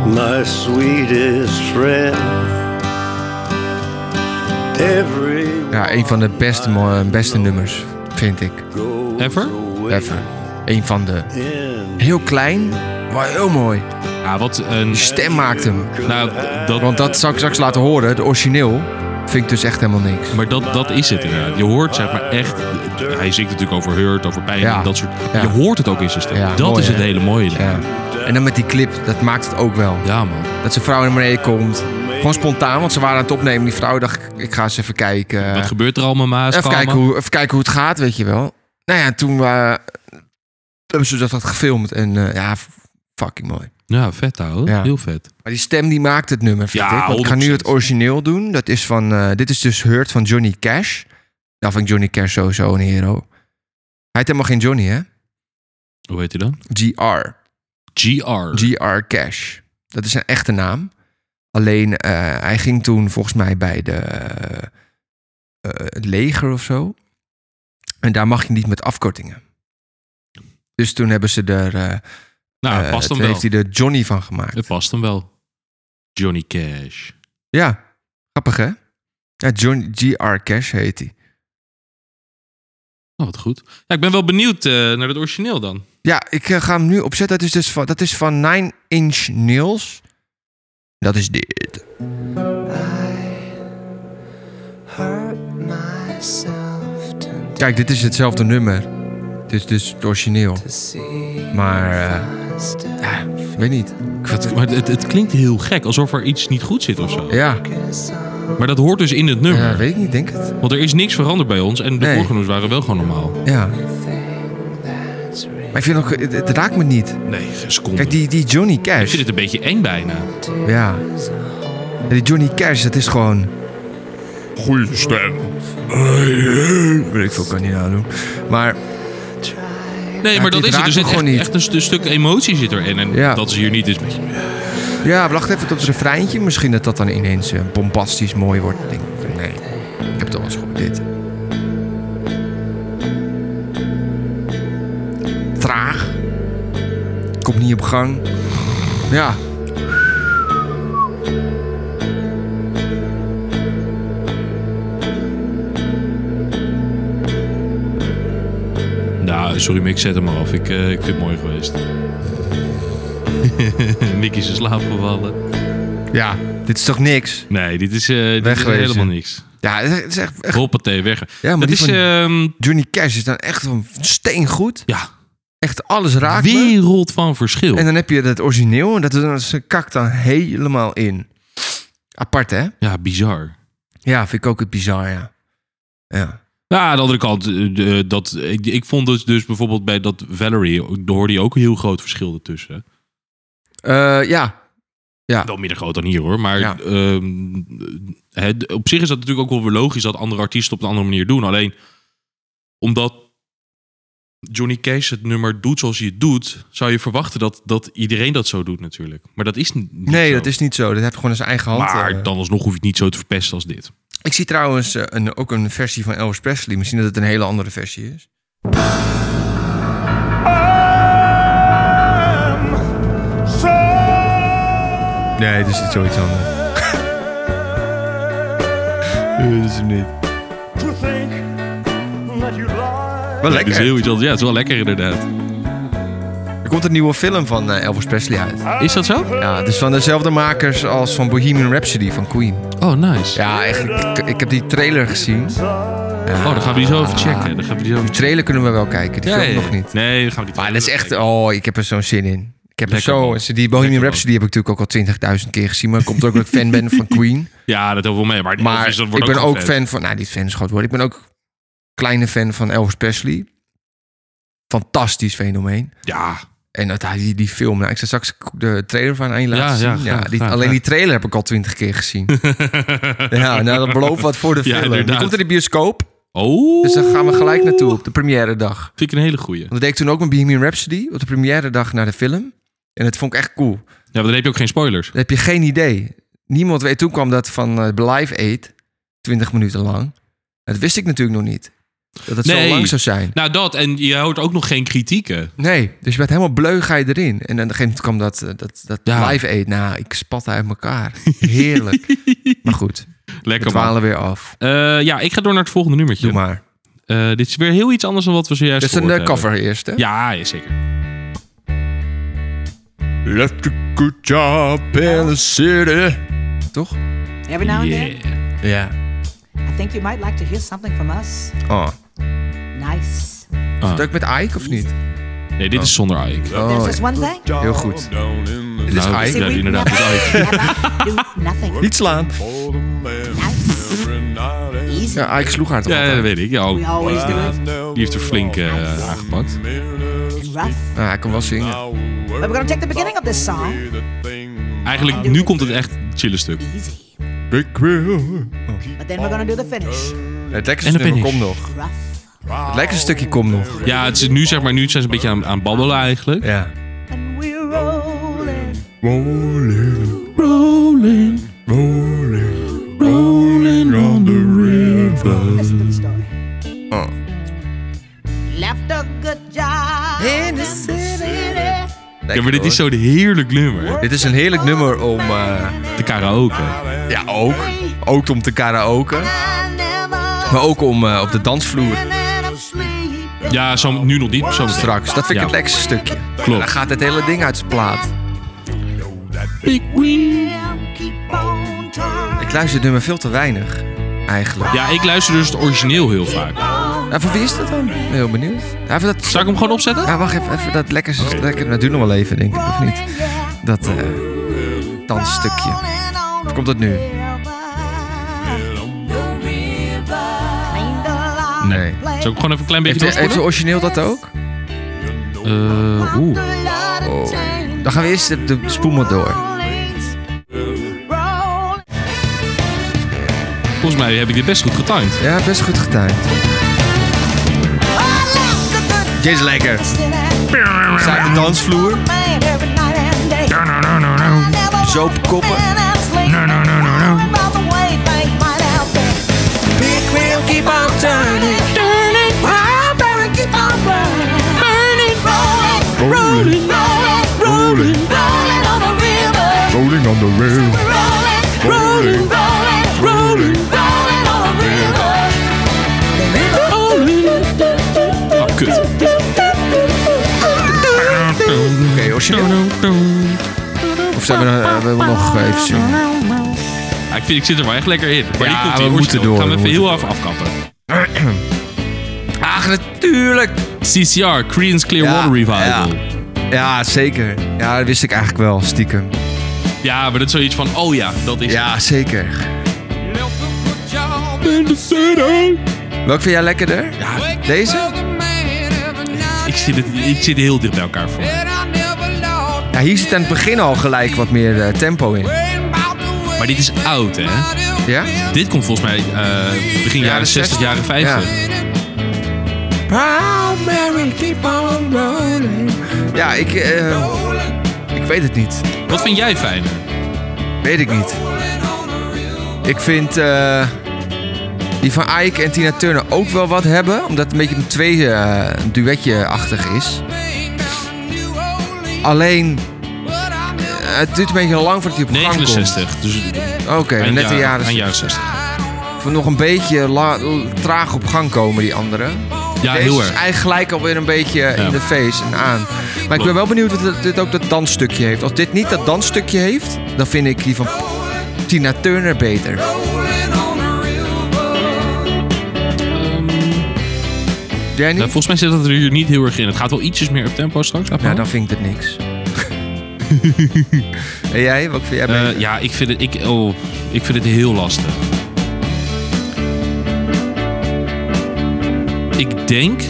Speaker 6: My sweetest friend. Every
Speaker 2: Ja, een van de beste, mo- beste nummers, vind ik.
Speaker 6: goes
Speaker 1: Ever?
Speaker 6: away
Speaker 2: Ever. Een van de...
Speaker 6: in
Speaker 2: Heel klein, maar heel mooi.
Speaker 1: Ja, wat een...
Speaker 2: Die stem maakt hem.
Speaker 1: Nou, d- dat,
Speaker 2: Want dat zou ik straks laten horen. Het origineel vind ik dus echt helemaal niks.
Speaker 1: Maar dat, dat is het inderdaad. Je hoort zeg maar echt... Hij zingt natuurlijk over hurt, over pijn
Speaker 2: Ja.
Speaker 1: en dat soort...
Speaker 2: Ja.
Speaker 1: Je hoort het ook in zijn stem.
Speaker 2: Ja,
Speaker 1: dat
Speaker 2: mooi,
Speaker 1: is het
Speaker 2: hè?
Speaker 1: hele mooie. Ja,
Speaker 2: Ja. En dan met die clip, dat maakt het ook wel.
Speaker 1: man.
Speaker 2: Dat zijn vrouw naar beneden komt. Gewoon spontaan, want ze waren aan het opnemen. Die vrouw dacht, ik- ik ga eens even kijken.
Speaker 1: Wat gebeurt er allemaal, Maas?
Speaker 2: even,
Speaker 1: Kalmen?
Speaker 2: kijken hoe, even kijken hoe het gaat, weet je wel. Nou ja, toen eh, hebben ze dat had gefilmd. En eh, ja, f- fucking mooi.
Speaker 1: Ja, vet ouwe.
Speaker 2: Ja.
Speaker 1: Heel vet.
Speaker 2: Maar die stem die maakt het nummer, vind
Speaker 1: Ja,
Speaker 2: ik. Want ik ga nu het
Speaker 1: 100%.
Speaker 2: origineel doen. Dat is van, eh, dit is dus Hurt van Johnny Cash. Nou vind ik Johnny Cash sowieso een hero. Hij heet helemaal geen Johnny, hè?
Speaker 1: Hoe heet hij dan?
Speaker 2: GR.
Speaker 1: GR.
Speaker 2: GR Cash. Dat is zijn echte naam. Alleen eh, hij ging toen volgens mij bij de, eh, eh, het leger of zo. En daar mag je niet met afkortingen. Dus toen hebben ze er. eh,
Speaker 1: nou,
Speaker 2: eh,
Speaker 1: het past
Speaker 2: toen
Speaker 1: hem wel.
Speaker 2: heeft hij er Johnny van gemaakt.
Speaker 1: Het past hem wel. Johnny Cash.
Speaker 2: Ja, grappig hè? Ja, Johnny GR Cash heet hij.
Speaker 1: Oh, wat goed. Ja, ik ben wel benieuwd eh, naar het origineel dan.
Speaker 2: Ja, ik eh, ga hem nu opzetten. Dat is, dus van, dat is van Nine Inch Nails. Dat is dit. Kijk, dit is hetzelfde nummer. Het is dus het origineel. Maar, eh, ja, ik weet niet.
Speaker 1: Ik vind het- maar het, het klinkt heel gek. Alsof er iets niet goed zit of zo.
Speaker 2: Ja,
Speaker 1: Maar dat hoort dus in het nummer.
Speaker 2: ja, weet ik niet, denk het.
Speaker 1: Want er is niks veranderd bij ons. En de
Speaker 2: Nee.
Speaker 1: vorige nummers waren wel gewoon normaal.
Speaker 2: Ja. Maar ik vind ook, het, het raakt me niet.
Speaker 1: Nee, geen seconde.
Speaker 2: Kijk, die, die Johnny
Speaker 1: Ik vind
Speaker 2: Cash.
Speaker 1: het een beetje eng bijna.
Speaker 2: Ja. Ja, Die Johnny Cash, dat is gewoon...
Speaker 1: Goeie stem.
Speaker 2: Weet ik veel, kan niet nou doen. Maar
Speaker 1: Nee, maar
Speaker 2: dit
Speaker 1: dat is het.
Speaker 2: raakt
Speaker 1: Er
Speaker 2: me
Speaker 1: zit echt,
Speaker 2: gewoon niet.
Speaker 1: echt een stu- stuk emotie zit erin. En
Speaker 2: Ja.
Speaker 1: dat is hier niet. Dus
Speaker 2: ja, wacht even tot het refreintje. Misschien dat dat dan ineens eh, bombastisch mooi wordt. Ik Denk, nee, ik heb het al eens gehoord, dit. Traag. Komt niet op gang. Ja.
Speaker 1: Nou, sorry Mick, zet hem maar af. Ik, eh, ik vind het mooi geweest. Mick is in slaap gevallen.
Speaker 2: Ja. Dit is toch niks?
Speaker 1: Nee, dit is, eh, dit
Speaker 2: Weg
Speaker 1: is
Speaker 2: geweest,
Speaker 1: helemaal
Speaker 2: hè?
Speaker 1: niks.
Speaker 2: Ja, het is echt... echt-
Speaker 1: Hoppatee, weg.
Speaker 2: Ja, maar
Speaker 1: dat
Speaker 2: die
Speaker 1: is,
Speaker 2: van-
Speaker 1: ehm,
Speaker 2: Johnny Cash is dan echt een steengoed.
Speaker 1: ja,
Speaker 2: Echt alles raakt me.
Speaker 1: wereld van verschil.
Speaker 2: En dan heb je het origineel en dat is- dat is- kakt dan helemaal in. Apart, hè?
Speaker 1: Ja, bizar.
Speaker 2: Ja, vind ik ook het bizar, ja. Ja.
Speaker 1: Ja, aan de andere kant, eh, eh, dat, ik, ik vond dus, dus bijvoorbeeld bij dat Valerie, daar hoorde je ook een heel groot verschil ertussen.
Speaker 2: Eh, ja.
Speaker 1: Wel minder groot dan hier hoor, maar
Speaker 2: Ja.
Speaker 1: ehm, het, op zich is dat natuurlijk ook wel weer logisch dat andere artiesten op een andere manier doen. Alleen omdat Johnny Cash het nummer doet zoals hij het doet, zou je verwachten dat, dat iedereen dat zo doet natuurlijk. Maar dat is niet
Speaker 2: Nee,
Speaker 1: zo.
Speaker 2: dat is niet zo. Dat heb je gewoon in zijn eigen hand. eh.
Speaker 1: Maar dan alsnog hoef je het niet zo te verpesten als dit.
Speaker 2: Ik zie trouwens eh, een, ook een versie van Elvis Presley. Misschien dat het een hele andere versie is. Nee, het is niet zoiets anders. nee, dat is hem niet. Wel
Speaker 1: Ja, het is
Speaker 2: lekker.
Speaker 1: heel iets anders. Ja, het is wel lekker inderdaad.
Speaker 2: Er komt een nieuwe film van eh, Elvis Presley uit.
Speaker 1: Is dat zo?
Speaker 2: Ja, het is van dezelfde makers als van Bohemian Rhapsody van Queen.
Speaker 1: Oh, nice.
Speaker 2: Ja, eigenlijk, ik, ik heb die trailer gezien.
Speaker 1: Oh, dan gaan we die zo even checken. Dan gaan we die
Speaker 2: Die
Speaker 1: zo even
Speaker 2: trailer kunnen we wel kijken, die
Speaker 1: Ja,
Speaker 2: film
Speaker 1: ja, ja.
Speaker 2: nog niet.
Speaker 1: Nee, dan gaan we die
Speaker 2: Maar dat is echt,
Speaker 1: kijken.
Speaker 2: oh, ik heb er zo'n zin in. Ik heb er
Speaker 1: Lekker
Speaker 2: zo,
Speaker 1: man.
Speaker 2: die Bohemian
Speaker 1: Lekker
Speaker 2: Rhapsody heb ik natuurlijk ook al 20.000 keer gezien. Maar komt ook dat ik fan ben van Queen.
Speaker 1: Ja, dat hebben we wel mee. Maar, die
Speaker 2: Maar
Speaker 1: Elvis, dat wordt
Speaker 2: ik ben ook,
Speaker 1: gewoon vet.
Speaker 2: fan van, nou niet fan is groot woord. Ik ben ook kleine fan van Elvis Presley. Fantastisch fenomeen.
Speaker 1: Ja,
Speaker 2: En dat, die, die film, nou, ik zal straks de trailer van aan je laten
Speaker 1: Ja,
Speaker 2: zien.
Speaker 1: ja,
Speaker 2: Ja,
Speaker 1: graag,
Speaker 2: die,
Speaker 1: graag,
Speaker 2: alleen
Speaker 1: graag.
Speaker 2: die trailer heb ik al 20 keer gezien. ja, nou dat belooft wat voor de
Speaker 1: Ja,
Speaker 2: film. die
Speaker 1: inderdaad.
Speaker 2: komt in de bioscoop,
Speaker 1: Oh.
Speaker 2: dus daar gaan we gelijk naartoe op de première dag.
Speaker 1: Vind ik een hele goeie. Ja,
Speaker 2: Want dat deed ik toen ook met Bohemian Rhapsody op de première dag naar de film. En dat vond ik echt cool.
Speaker 1: maar dan heb je ook geen spoilers.
Speaker 2: Dan heb je geen idee. Niemand weet. Toen kwam dat van eh Live Aid, 20 minuten lang. Dat wist ik natuurlijk nog niet. Dat het
Speaker 1: Nee.
Speaker 2: zo lang zou zijn.
Speaker 1: Nou, dat. En je hoort ook nog geen kritieken.
Speaker 2: Nee, dus je bent helemaal bleu ga je erin. En dan gegeven moment kwam dat, eh, dat, dat
Speaker 1: Ja.
Speaker 2: Live Aid. Nou, ik spatte uit elkaar. Heerlijk. maar goed.
Speaker 1: Lekker man.
Speaker 2: dwalen weer af.
Speaker 1: Eh, ja, ik ga door naar het volgende nummertje.
Speaker 2: Doe maar.
Speaker 1: Eh, dit is weer heel iets anders dan wat we zojuist
Speaker 2: Dat is een
Speaker 1: gehoord
Speaker 2: eh,
Speaker 1: hebben.
Speaker 2: cover eerst, hè?
Speaker 1: Ja, ja, zeker.
Speaker 2: Left a good job in the city. Toch?
Speaker 7: Every now and then,
Speaker 2: Ja.
Speaker 1: Yeah.
Speaker 7: I think you might like to hear something from us.
Speaker 2: Oh.
Speaker 7: Nice.
Speaker 2: Dat ik met Ike of niet?
Speaker 1: Nee, dit is zonder Ike.
Speaker 7: There's
Speaker 2: Oh,
Speaker 7: just one thing.
Speaker 2: heel goed. Dit is
Speaker 1: Nou,
Speaker 2: Ike.
Speaker 1: ja,
Speaker 7: we
Speaker 1: inderdaad, dat
Speaker 7: never, never do nothing.
Speaker 2: Niet slaan.
Speaker 7: Nice. Easy.
Speaker 2: Ja, Ike sloeg haar toch
Speaker 1: Ja,
Speaker 2: altijd?
Speaker 1: dat weet ik. Ja, oh. ook.
Speaker 7: We always do it.
Speaker 1: Ah. Die heeft er flink eh, aangepakt.
Speaker 7: Rough.
Speaker 2: Nou, hij kan wel zingen.
Speaker 7: But we're gonna take the beginning of this song.
Speaker 1: Eigenlijk, nu komt het echt chille stuk.
Speaker 7: Easy.
Speaker 2: Big wheel.
Speaker 7: But then we're gonna do the finish.
Speaker 2: Het
Speaker 1: En
Speaker 2: lekkerste
Speaker 1: dan
Speaker 2: nummer
Speaker 1: finish.
Speaker 2: komt nog.
Speaker 7: Rough.
Speaker 2: Het lekkerste stukje komt nog.
Speaker 1: Ja, het is nu zeg maar, nu zijn ze een beetje aan, aan babbelen eigenlijk.
Speaker 2: Ja.
Speaker 7: And we're rolling.
Speaker 2: Rolling, rolling, rolling on the river.
Speaker 7: Listen to the story.
Speaker 2: Oh.
Speaker 7: Left a good job in the city.
Speaker 1: Ja, maar dit is zo'n heerlijk nummer.
Speaker 2: Dit is een heerlijk nummer om... eh,
Speaker 1: De karaoke.
Speaker 2: ja, ook. Ook om te karaoken. Maar ook om eh, op de dansvloer
Speaker 1: Ja, zo, nu nog niet. Zo meteen.
Speaker 2: straks. Dat vind ik
Speaker 1: Ja.
Speaker 2: het lekkerste stukje.
Speaker 1: Klopt.
Speaker 2: Dan gaat het hele ding uit zijn plaat. Ik luister het nummer veel te weinig, eigenlijk.
Speaker 1: Ja, ik luister dus het origineel heel vaak.
Speaker 2: Nou, voor wie is dat dan? Ik ben heel benieuwd. Ja, voor dat...
Speaker 1: Zal ik hem gewoon opzetten?
Speaker 2: ja wacht even, even dat lekkerste stukje. Dat duurt nog wel even, denk ik, of niet? Dat eh dansstukje. Of komt dat nu? Nee.
Speaker 1: Zal ik hem gewoon even een klein beetje
Speaker 2: Heeft, heeft
Speaker 1: doorspoelen?
Speaker 2: origineel dat ook?
Speaker 1: Eh, Oeh.
Speaker 2: Oh. Dan gaan we eerst de, de spoelmat door.
Speaker 1: Volgens mij heb ik dit best goed getimed.
Speaker 2: Ja, best goed getimed. Dit is lekker. We staan op de dansvloer. Zo op koppen. Rolling, rolling, rolling on the rail. Rolling, rolling,
Speaker 1: Oh, kut.
Speaker 2: Oké, origineel. Of zijn we, eh, we hebben nog even zingen?
Speaker 1: Ja, ik, vind, ik zit er wel echt lekker in. Maar die
Speaker 2: Ja,
Speaker 1: komt
Speaker 2: we
Speaker 1: die
Speaker 2: moeten door,
Speaker 1: Gaan we
Speaker 2: we
Speaker 1: even
Speaker 2: moeten
Speaker 1: heel af afkappen.
Speaker 2: Ach, natuurlijk.
Speaker 1: CCR, Creedence Clearwater
Speaker 2: Ja,
Speaker 1: Revival. Ja.
Speaker 2: Ja, zeker. Ja, dat wist ik eigenlijk wel, stiekem.
Speaker 1: maar dat is zoiets van, oh ja, dat is
Speaker 2: Ja, zeker.
Speaker 1: In the city.
Speaker 2: Welk vind jij lekkerder?
Speaker 1: Ja,
Speaker 2: Deze?
Speaker 1: ik zit, het, ik zit heel dicht bij elkaar voor.
Speaker 2: Ja, hier zit aan het begin al gelijk wat meer eh, tempo in.
Speaker 1: Maar dit is oud, hè?
Speaker 2: Ja?
Speaker 1: Dit komt volgens mij eh, begin jaren 60, jaren 50.
Speaker 2: Ja, ik, eh, ik weet het niet.
Speaker 1: Wat vind jij fijner?
Speaker 2: Weet ik niet. Ik vind eh, die van Ike en Tina Turner ook wel wat hebben. Omdat het een beetje een twee eh, duetje-achtig is. Alleen, eh, het duurt een beetje lang voordat hij op gang komt.
Speaker 1: 69. Dus
Speaker 2: Oké,
Speaker 1: eind
Speaker 2: net de
Speaker 1: jaar-
Speaker 2: jaren.
Speaker 1: eind jaren 60.
Speaker 2: Voor nog een beetje la- traag op gang komen, die anderen.
Speaker 1: Ja,
Speaker 2: Deze
Speaker 1: Ah, heel
Speaker 2: is
Speaker 1: erg.
Speaker 2: eigenlijk gelijk alweer een beetje
Speaker 1: Ja.
Speaker 2: in de face en aan. Maar ik ben wel benieuwd of dit- dit ook dat dansstukje heeft. Als dit niet dat dansstukje heeft, dan vind ik die van Tina Turner beter. Jij
Speaker 1: Nou,
Speaker 2: niet?
Speaker 1: volgens mij zit dat er hier niet heel erg in. Het gaat wel ietsjes meer op tempo straks. laat maar.
Speaker 2: Ja, Nou, dan vind ik het niks. en jij? Wat vind jij
Speaker 1: Eh,
Speaker 2: beter?
Speaker 1: ja, ik vind, het, ik, oh, ik vind het heel lastig. Ik denk,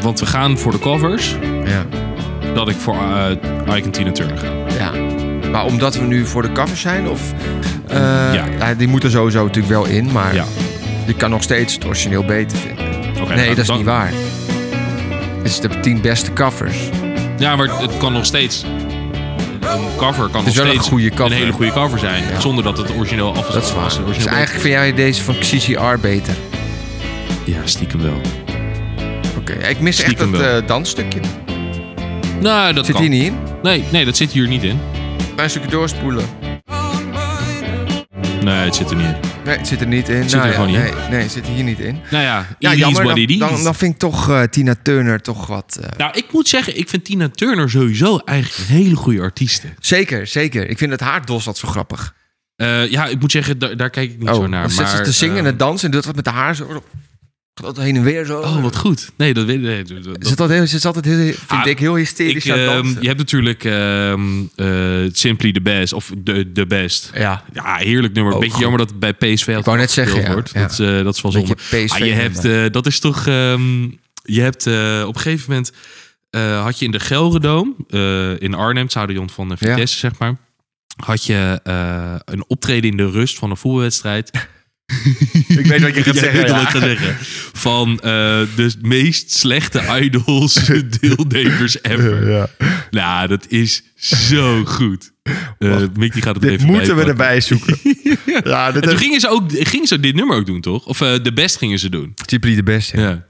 Speaker 1: want we gaan voor de covers,
Speaker 2: ja.
Speaker 1: dat ik voor eh Ike en Tina Turner ga.
Speaker 2: Ja. Maar omdat we nu voor de cover zijn, of... eh,
Speaker 1: Ja.
Speaker 2: ja, Die moet er sowieso natuurlijk wel in, maar
Speaker 1: Ja,
Speaker 2: die kan nog steeds het origineel beter vinden.
Speaker 1: oké.
Speaker 2: nee,
Speaker 1: nou,
Speaker 2: dat is
Speaker 1: dan-
Speaker 2: niet waar. Het is de tien beste covers.
Speaker 1: Ja, maar het kan nog steeds. Een cover kan
Speaker 2: is
Speaker 1: nog
Speaker 2: wel een
Speaker 1: steeds
Speaker 2: goede cover.
Speaker 1: hele goede cover zijn, zonder dat het origineel af is.
Speaker 2: Dat is waar.
Speaker 1: Het
Speaker 2: Dus
Speaker 1: origineel
Speaker 2: eigenlijk vind jij deze van CCR beter.
Speaker 1: Ja, stiekem wel.
Speaker 2: Oké, ik mis
Speaker 1: Stiekem
Speaker 2: echt dat
Speaker 1: wel.
Speaker 2: eh, dansstukje.
Speaker 1: Nou, dat
Speaker 2: Zit
Speaker 1: kan.
Speaker 2: hier niet in?
Speaker 1: Nee, nee, dat zit hier niet in.
Speaker 2: Een stukje doorspoelen.
Speaker 1: Nee, het zit er niet in.
Speaker 2: Nee, het zit er niet in. Nou
Speaker 1: Zit er
Speaker 2: ja,
Speaker 1: gewoon niet
Speaker 2: nee, nee, het zit hier niet in.
Speaker 1: Nou ja,
Speaker 2: Ja,
Speaker 1: it is
Speaker 2: jammer.
Speaker 1: what it
Speaker 2: Dan,
Speaker 1: is.
Speaker 2: dan, dan vind ik toch eh, Tina Turner toch wat... eh,
Speaker 1: Nou, ik moet zeggen, ik vind Tina Turner sowieso eigenlijk een hele goede artieste.
Speaker 2: Zeker, zeker. Ik vind het haar dos wat zo grappig.
Speaker 1: Eh, ja, ik moet zeggen, daar, daar kijk ik niet
Speaker 2: oh,
Speaker 1: zo naar.
Speaker 2: dan zit
Speaker 1: maar,
Speaker 2: ze te zingen en
Speaker 1: eh,
Speaker 2: te dansen en doet wat met haar haar. Zo, gaat altijd heen en weer zo.
Speaker 1: oh, wat goed. Nee, dat weet nee, dat- dat-
Speaker 2: Ze is altijd heel, ze is altijd heel, vind
Speaker 1: Ah,
Speaker 2: ik heel hysterisch
Speaker 1: ik,
Speaker 2: aan het
Speaker 1: ehm,
Speaker 2: dansen.
Speaker 1: je hebt natuurlijk ehm, eh, Simply the Best of The, the Best.
Speaker 2: ja.
Speaker 1: Ja, heerlijk nummer.
Speaker 2: Ook
Speaker 1: Beetje
Speaker 2: goed.
Speaker 1: jammer dat het bij PSV altijd
Speaker 2: wou net
Speaker 1: gespeeld
Speaker 2: zeggen, ja.
Speaker 1: wordt.
Speaker 2: Ja.
Speaker 1: Dat, eh, dat is wel
Speaker 2: Beetje
Speaker 1: zonde.
Speaker 2: PSV
Speaker 1: Ah, je hebt,
Speaker 2: nummer.
Speaker 1: eh, dat is toch... ehm, je hebt eh, op een gegeven moment... eh, had je in de Gelredoom, eh in Arnhem, het stadion van de
Speaker 2: Ja.
Speaker 1: Vitesse, zeg maar... had je eh, een optreden in de rust van een voetbalwedstrijd.
Speaker 2: Ik weet wat je gaat
Speaker 1: Jij
Speaker 2: zeggen.
Speaker 1: weet wat
Speaker 2: ja.
Speaker 1: ik ga zeggen. Van eh, de meest slechte idols deelnemers ever. Nou, dat is zo goed. Eh Mick die gaat het er
Speaker 2: Dit
Speaker 1: even
Speaker 2: moeten we
Speaker 1: bijpakken.
Speaker 2: erbij zoeken. ja, dit
Speaker 1: En toen
Speaker 2: is
Speaker 1: gingen ze, ook, gingen ze dit nummer ook doen, toch? Of eh, de best gingen ze doen.
Speaker 2: Typically de best. Ja.
Speaker 1: Ja.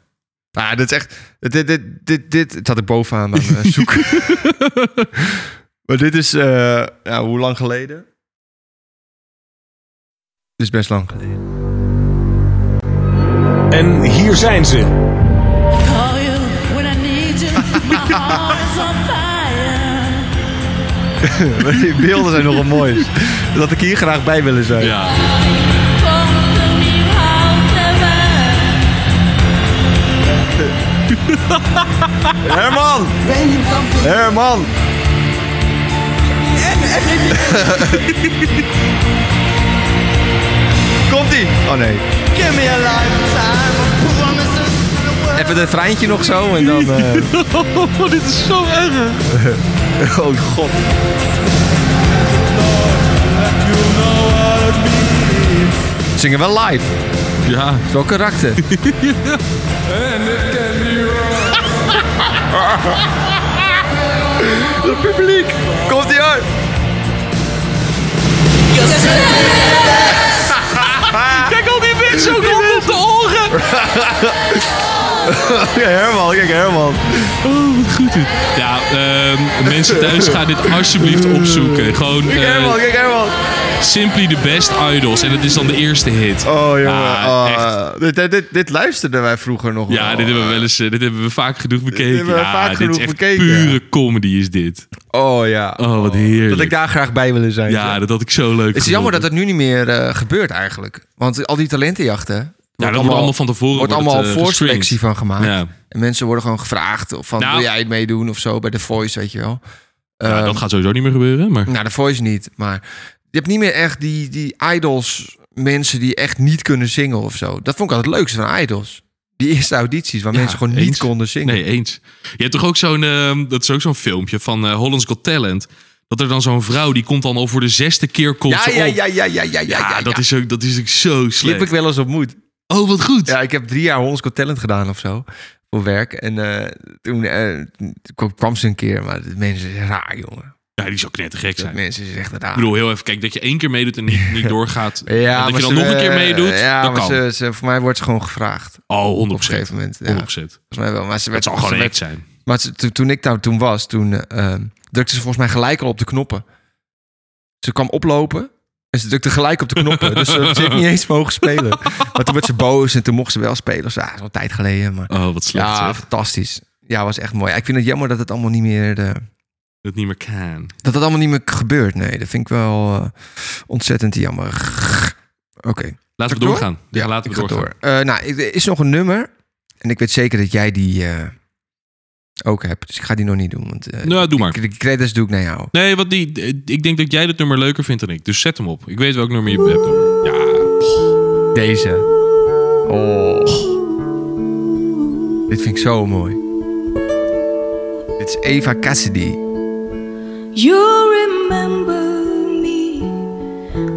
Speaker 2: Ah, dit is echt... Dit, dit, dit, dit, het had ik bovenaan aan eh, zoeken. maar dit is... eh, ja, hoe lang geleden? Dit is best lang geleden.
Speaker 8: En hier zijn ze.
Speaker 3: Call you when I need you. My heart is on fire.
Speaker 2: Maar die beelden zijn nogal mooi. Dat had ik hier graag bij willen zijn.
Speaker 1: ja.
Speaker 3: Kom te me houdt erbij.
Speaker 2: Herman! Herman! Komt-ie! Oh nee. Even het treintje nog zo en dan... eh.
Speaker 1: Oh, dit is zo erg.
Speaker 2: oh god. Zingen wel live. Het
Speaker 1: Ja.
Speaker 2: is wel karakter. Het publiek! Komt-ie uit!
Speaker 1: Kijk al die mensen ook rond op de oren.
Speaker 2: Kijk Herman, kijk Herman.
Speaker 1: Oh, wat goed dit. Ja, ehm, mensen thuis gaan dit alsjeblieft opzoeken. Gewoon
Speaker 2: Kijk
Speaker 1: eh,
Speaker 2: Herman, kijk Herman.
Speaker 1: Simply the best idols. En dat is dan de eerste hit.
Speaker 2: Oh jongen,
Speaker 1: Ja, echt.
Speaker 2: Ah, dit, dit, dit, dit luisterden wij vroeger nog
Speaker 1: Ja,
Speaker 2: wel.
Speaker 1: dit hebben we wel eens, eh, dit hebben we vaak genoeg bekeken.
Speaker 2: hebben we
Speaker 1: ja,
Speaker 2: vaak
Speaker 1: dit
Speaker 2: genoeg
Speaker 1: is echt
Speaker 2: bekeken,
Speaker 1: pure
Speaker 2: ja.
Speaker 1: comedy is dit.
Speaker 2: Oh ja.
Speaker 1: Oh, wat heerlijk.
Speaker 2: Dat ik daar graag bij willen zijn.
Speaker 1: ja, dat had ik zo leuk
Speaker 2: het is jammer dat het nu niet meer eh, gebeurt eigenlijk. Want al die talentenjachten... wordt
Speaker 1: Ja, dat wordt allemaal van tevoren
Speaker 2: Wordt
Speaker 1: wordt het,
Speaker 2: allemaal
Speaker 1: eh,
Speaker 2: voorselectie van gemaakt.
Speaker 1: Ja.
Speaker 2: En mensen worden gewoon gevraagd of van
Speaker 1: Nou.
Speaker 2: wil jij het meedoen of zo bij The Voice, weet je wel.
Speaker 1: Ja,
Speaker 2: Ehm,
Speaker 1: dat gaat sowieso niet meer gebeuren, maar...
Speaker 2: Nou, de Voice niet, maar je hebt niet meer echt die, die idols mensen die echt niet kunnen zingen of zo. Dat vond ik altijd het leukste van idols. Die eerste audities waar
Speaker 1: Ja,
Speaker 2: mensen gewoon
Speaker 1: eens.
Speaker 2: niet konden zingen.
Speaker 1: Nee, eens. Je hebt toch ook zo'n... ehm, dat is ook zo'n filmpje van eh, Holland's Got Talent. Dat er dan zo'n vrouw, die komt dan al voor de zesde keer komt
Speaker 2: Ja,
Speaker 1: ze
Speaker 2: ja,
Speaker 1: op.
Speaker 2: ja, ja, ja, ja, ja,
Speaker 1: Ja,
Speaker 2: ja,
Speaker 1: dat,
Speaker 2: ja.
Speaker 1: Is ook, dat is ook zo
Speaker 2: Die heb
Speaker 1: slecht.
Speaker 2: ik wel eens ontmoet.
Speaker 1: Oh, wat goed.
Speaker 2: Ja, ik heb drie jaar Hollands Got Talent gedaan of zo. Voor werk. En eh, toen eh, toen kwam ze een keer. Maar de mensen zijn raar, jongen.
Speaker 1: Ja, die zou knettergek
Speaker 2: De
Speaker 1: zijn.
Speaker 2: mensen zijn echt raar.
Speaker 1: Ik bedoel, heel even, kijk, dat je één keer meedoet en niet, niet doorgaat. en dat
Speaker 2: maar
Speaker 1: je dan
Speaker 2: ze-
Speaker 1: nog een keer
Speaker 2: eh,
Speaker 1: meedoet,
Speaker 2: Ja,
Speaker 1: dat
Speaker 2: maar
Speaker 1: kan.
Speaker 2: Ze, ze, voor mij wordt ze gewoon gevraagd.
Speaker 1: oh,
Speaker 2: Op
Speaker 1: 100%.
Speaker 2: een gegeven moment. Ja,
Speaker 1: 100%.
Speaker 2: volgens mij wel. Maar ze
Speaker 1: Dat
Speaker 2: werd,
Speaker 1: zal
Speaker 2: ze
Speaker 1: gewoon
Speaker 2: werd-
Speaker 1: echt zijn.
Speaker 2: Maar ze- toen- toen ik daar toen was, toen eh, ehm, drukte ze volgens mij gelijk al op de knoppen. Ze kwam oplopen en ze drukte gelijk op de knoppen. dus ze, ze heeft niet eens mogen spelen. Maar toen werd ze boos en toen mocht ze wel spelen. Dus, ja, dat is al een tijd geleden. Maar
Speaker 1: Oh, wat slecht
Speaker 2: ja,
Speaker 1: zeg.
Speaker 2: fantastisch. Ja, was echt mooi. Ja, Ik vind het jammer dat het allemaal niet meer, eh,
Speaker 1: Dat niet meer kan.
Speaker 2: dat het allemaal niet meer gebeurt. Nee, dat vind ik wel eh, ontzettend jammer. Oké.
Speaker 1: Laten we
Speaker 2: Ga ik
Speaker 1: doorgaan. Ja, laten we
Speaker 2: ik ga
Speaker 1: doorgaan.
Speaker 2: door. Eh, nou, ik- er is nog een nummer. En ik weet zeker dat jij die eh, ook hebt. Dus ik ga die nog niet doen. Want, eh,
Speaker 1: Nou, doe maar.
Speaker 2: De de credits doe ik naar jou.
Speaker 1: Nee, want die, eh, ik denk dat jij dit nummer leuker vindt dan ik. Dus zet hem op. Ik weet welk nummer je hebt. hoor. Ja.
Speaker 2: Deze. Oh. Dit vind ik zo mooi. Dit is Eva Cassidy.
Speaker 5: You remember me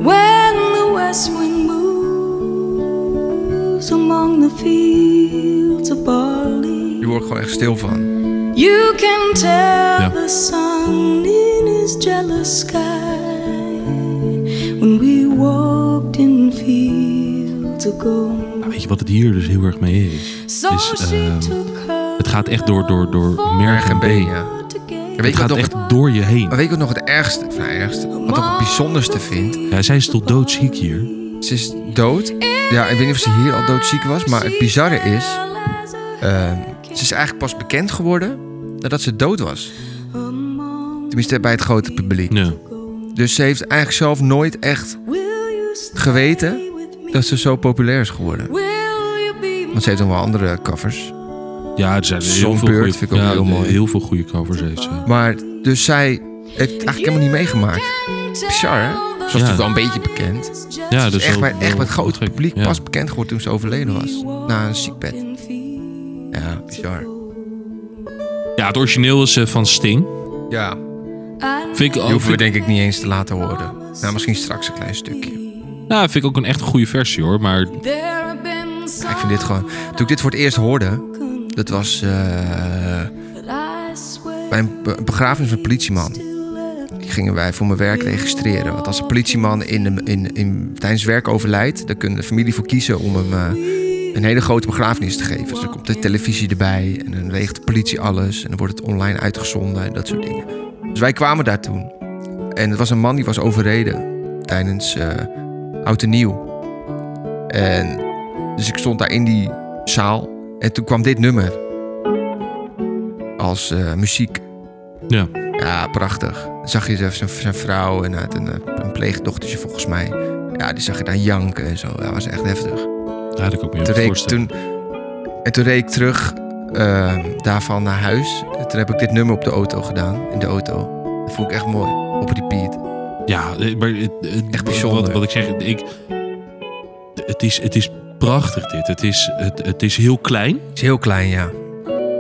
Speaker 5: when the west wind moves among the fields of barley.
Speaker 2: Hier word ik gewoon echt stil van.
Speaker 5: You can tell
Speaker 1: Ja.
Speaker 5: the sun in his jealous sky when we walked in fields of gold.
Speaker 1: Weet je wat het hier dus heel erg mee is?
Speaker 5: So
Speaker 1: is,
Speaker 5: she
Speaker 1: ehm,
Speaker 5: took her
Speaker 1: Het gaat echt door, door, door merg
Speaker 2: Erg en
Speaker 1: en
Speaker 2: been,
Speaker 1: been.
Speaker 2: ja.
Speaker 5: together.
Speaker 2: Weet je
Speaker 1: Het gaat
Speaker 2: wat nog
Speaker 1: echt door je heen.
Speaker 2: Maar weet je wat nog het ergste, of nou, ergste, wat nog het bijzonderste vind?
Speaker 1: Ja, zij is tot doodziek hier.
Speaker 2: Ze is dood. Ja, ik weet niet of ze hier al doodziek was, maar het bizarre is, ehm, ze is eigenlijk pas bekend geworden nadat ze dood was. Tenminste, bij het grote publiek.
Speaker 1: Ja.
Speaker 2: Dus ze heeft eigenlijk zelf nooit echt geweten dat ze zo populair is geworden. Want ze heeft nog wel andere covers.
Speaker 1: Ja, er zijn heel veel,
Speaker 2: Songbird
Speaker 1: goede,
Speaker 2: vind ik ook
Speaker 1: ja,
Speaker 2: heel mooi.
Speaker 1: heel veel goede covers heeft ze.
Speaker 2: Maar dus zij heeft eigenlijk helemaal niet meegemaakt. Bizar, hè? Ze was
Speaker 1: Ja.
Speaker 2: natuurlijk wel een beetje bekend.
Speaker 1: Ja, dus
Speaker 2: Dus echt,
Speaker 1: wel-
Speaker 2: bij, echt
Speaker 1: wel
Speaker 2: bij het grote
Speaker 1: gek.
Speaker 2: publiek
Speaker 1: Ja.
Speaker 2: pas bekend geworden toen ze overleden was. Na een ziekbed. Ja, bizar.
Speaker 1: Ja, het origineel is eh, van Sting.
Speaker 2: Ja,
Speaker 1: Vind ik,
Speaker 2: die
Speaker 1: ook,
Speaker 2: hoeven we
Speaker 1: Oh, vind,
Speaker 2: denk ik niet eens te laten horen. Nou, misschien straks een klein stukje.
Speaker 1: nou, vind ik ook een echt goede versie hoor. Maar
Speaker 2: Ja, ik vind dit gewoon... Toen ik dit voor het eerst hoorde, dat was eh, bij een be- een begrafenis van een politieman. Die Gingen wij voor mijn werk registreren. Want als een politieman in, de- in, in, tijdens werk overlijdt, dan kunnen de familie voor kiezen om hem eh, een hele grote begrafenis te geven. Dus dan komt de televisie erbij en dan regelt de politie alles. En dan wordt het online uitgezonden en dat soort dingen. Dus wij kwamen daar toen. En het was een man die was overreden tijdens eh Oud en Nieuw. En dus ik stond daar in die zaal en toen kwam dit nummer. Als eh, muziek.
Speaker 1: ja,
Speaker 2: Ja, prachtig. Dan zag je zelfs zijn, zijn vrouw en hij had een, eh, een pleegdochtertje volgens mij. Ja, die zag je daar janken en zo. Dat was echt heftig.
Speaker 1: daar had ik ook meer
Speaker 2: Toen
Speaker 1: op
Speaker 2: reed ik,
Speaker 1: voorstellen.
Speaker 2: toen, en toen reed ik terug eh, daarvan naar huis. En toen heb ik dit nummer op de auto gedaan, in de auto. Dat vond ik echt mooi. Op repeat.
Speaker 1: Ja, eh, maar het, het-
Speaker 2: Echt bijzonder.
Speaker 1: Wat, wat ik zeg, ik, het, is, het is prachtig dit. Het is, het, het is heel klein,
Speaker 2: Het is heel klein, ja.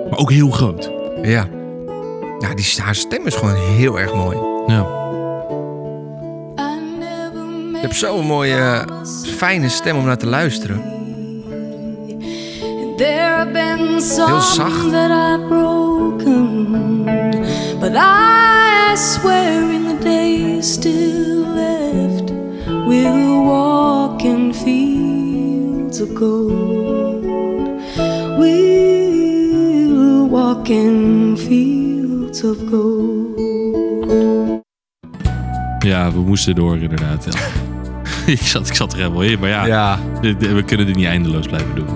Speaker 1: maar ook heel groot.
Speaker 2: Ja. Nou, die, haar stem is gewoon heel erg mooi.
Speaker 1: Ja,
Speaker 2: Je hebt zo'n mooie, eh, fijne stem om naar te luisteren.
Speaker 5: There have been
Speaker 2: Heel
Speaker 5: some
Speaker 2: zacht.
Speaker 5: that I've broken, but I swear in the days still left, we'll walk in fields of gold. We'll walk in fields of gold.
Speaker 1: ja we moesten door inderdaad. ja. ik, zat, ik zat er helemaal in, maar ja, dit- dit- we kunnen dit niet eindeloos blijven doen.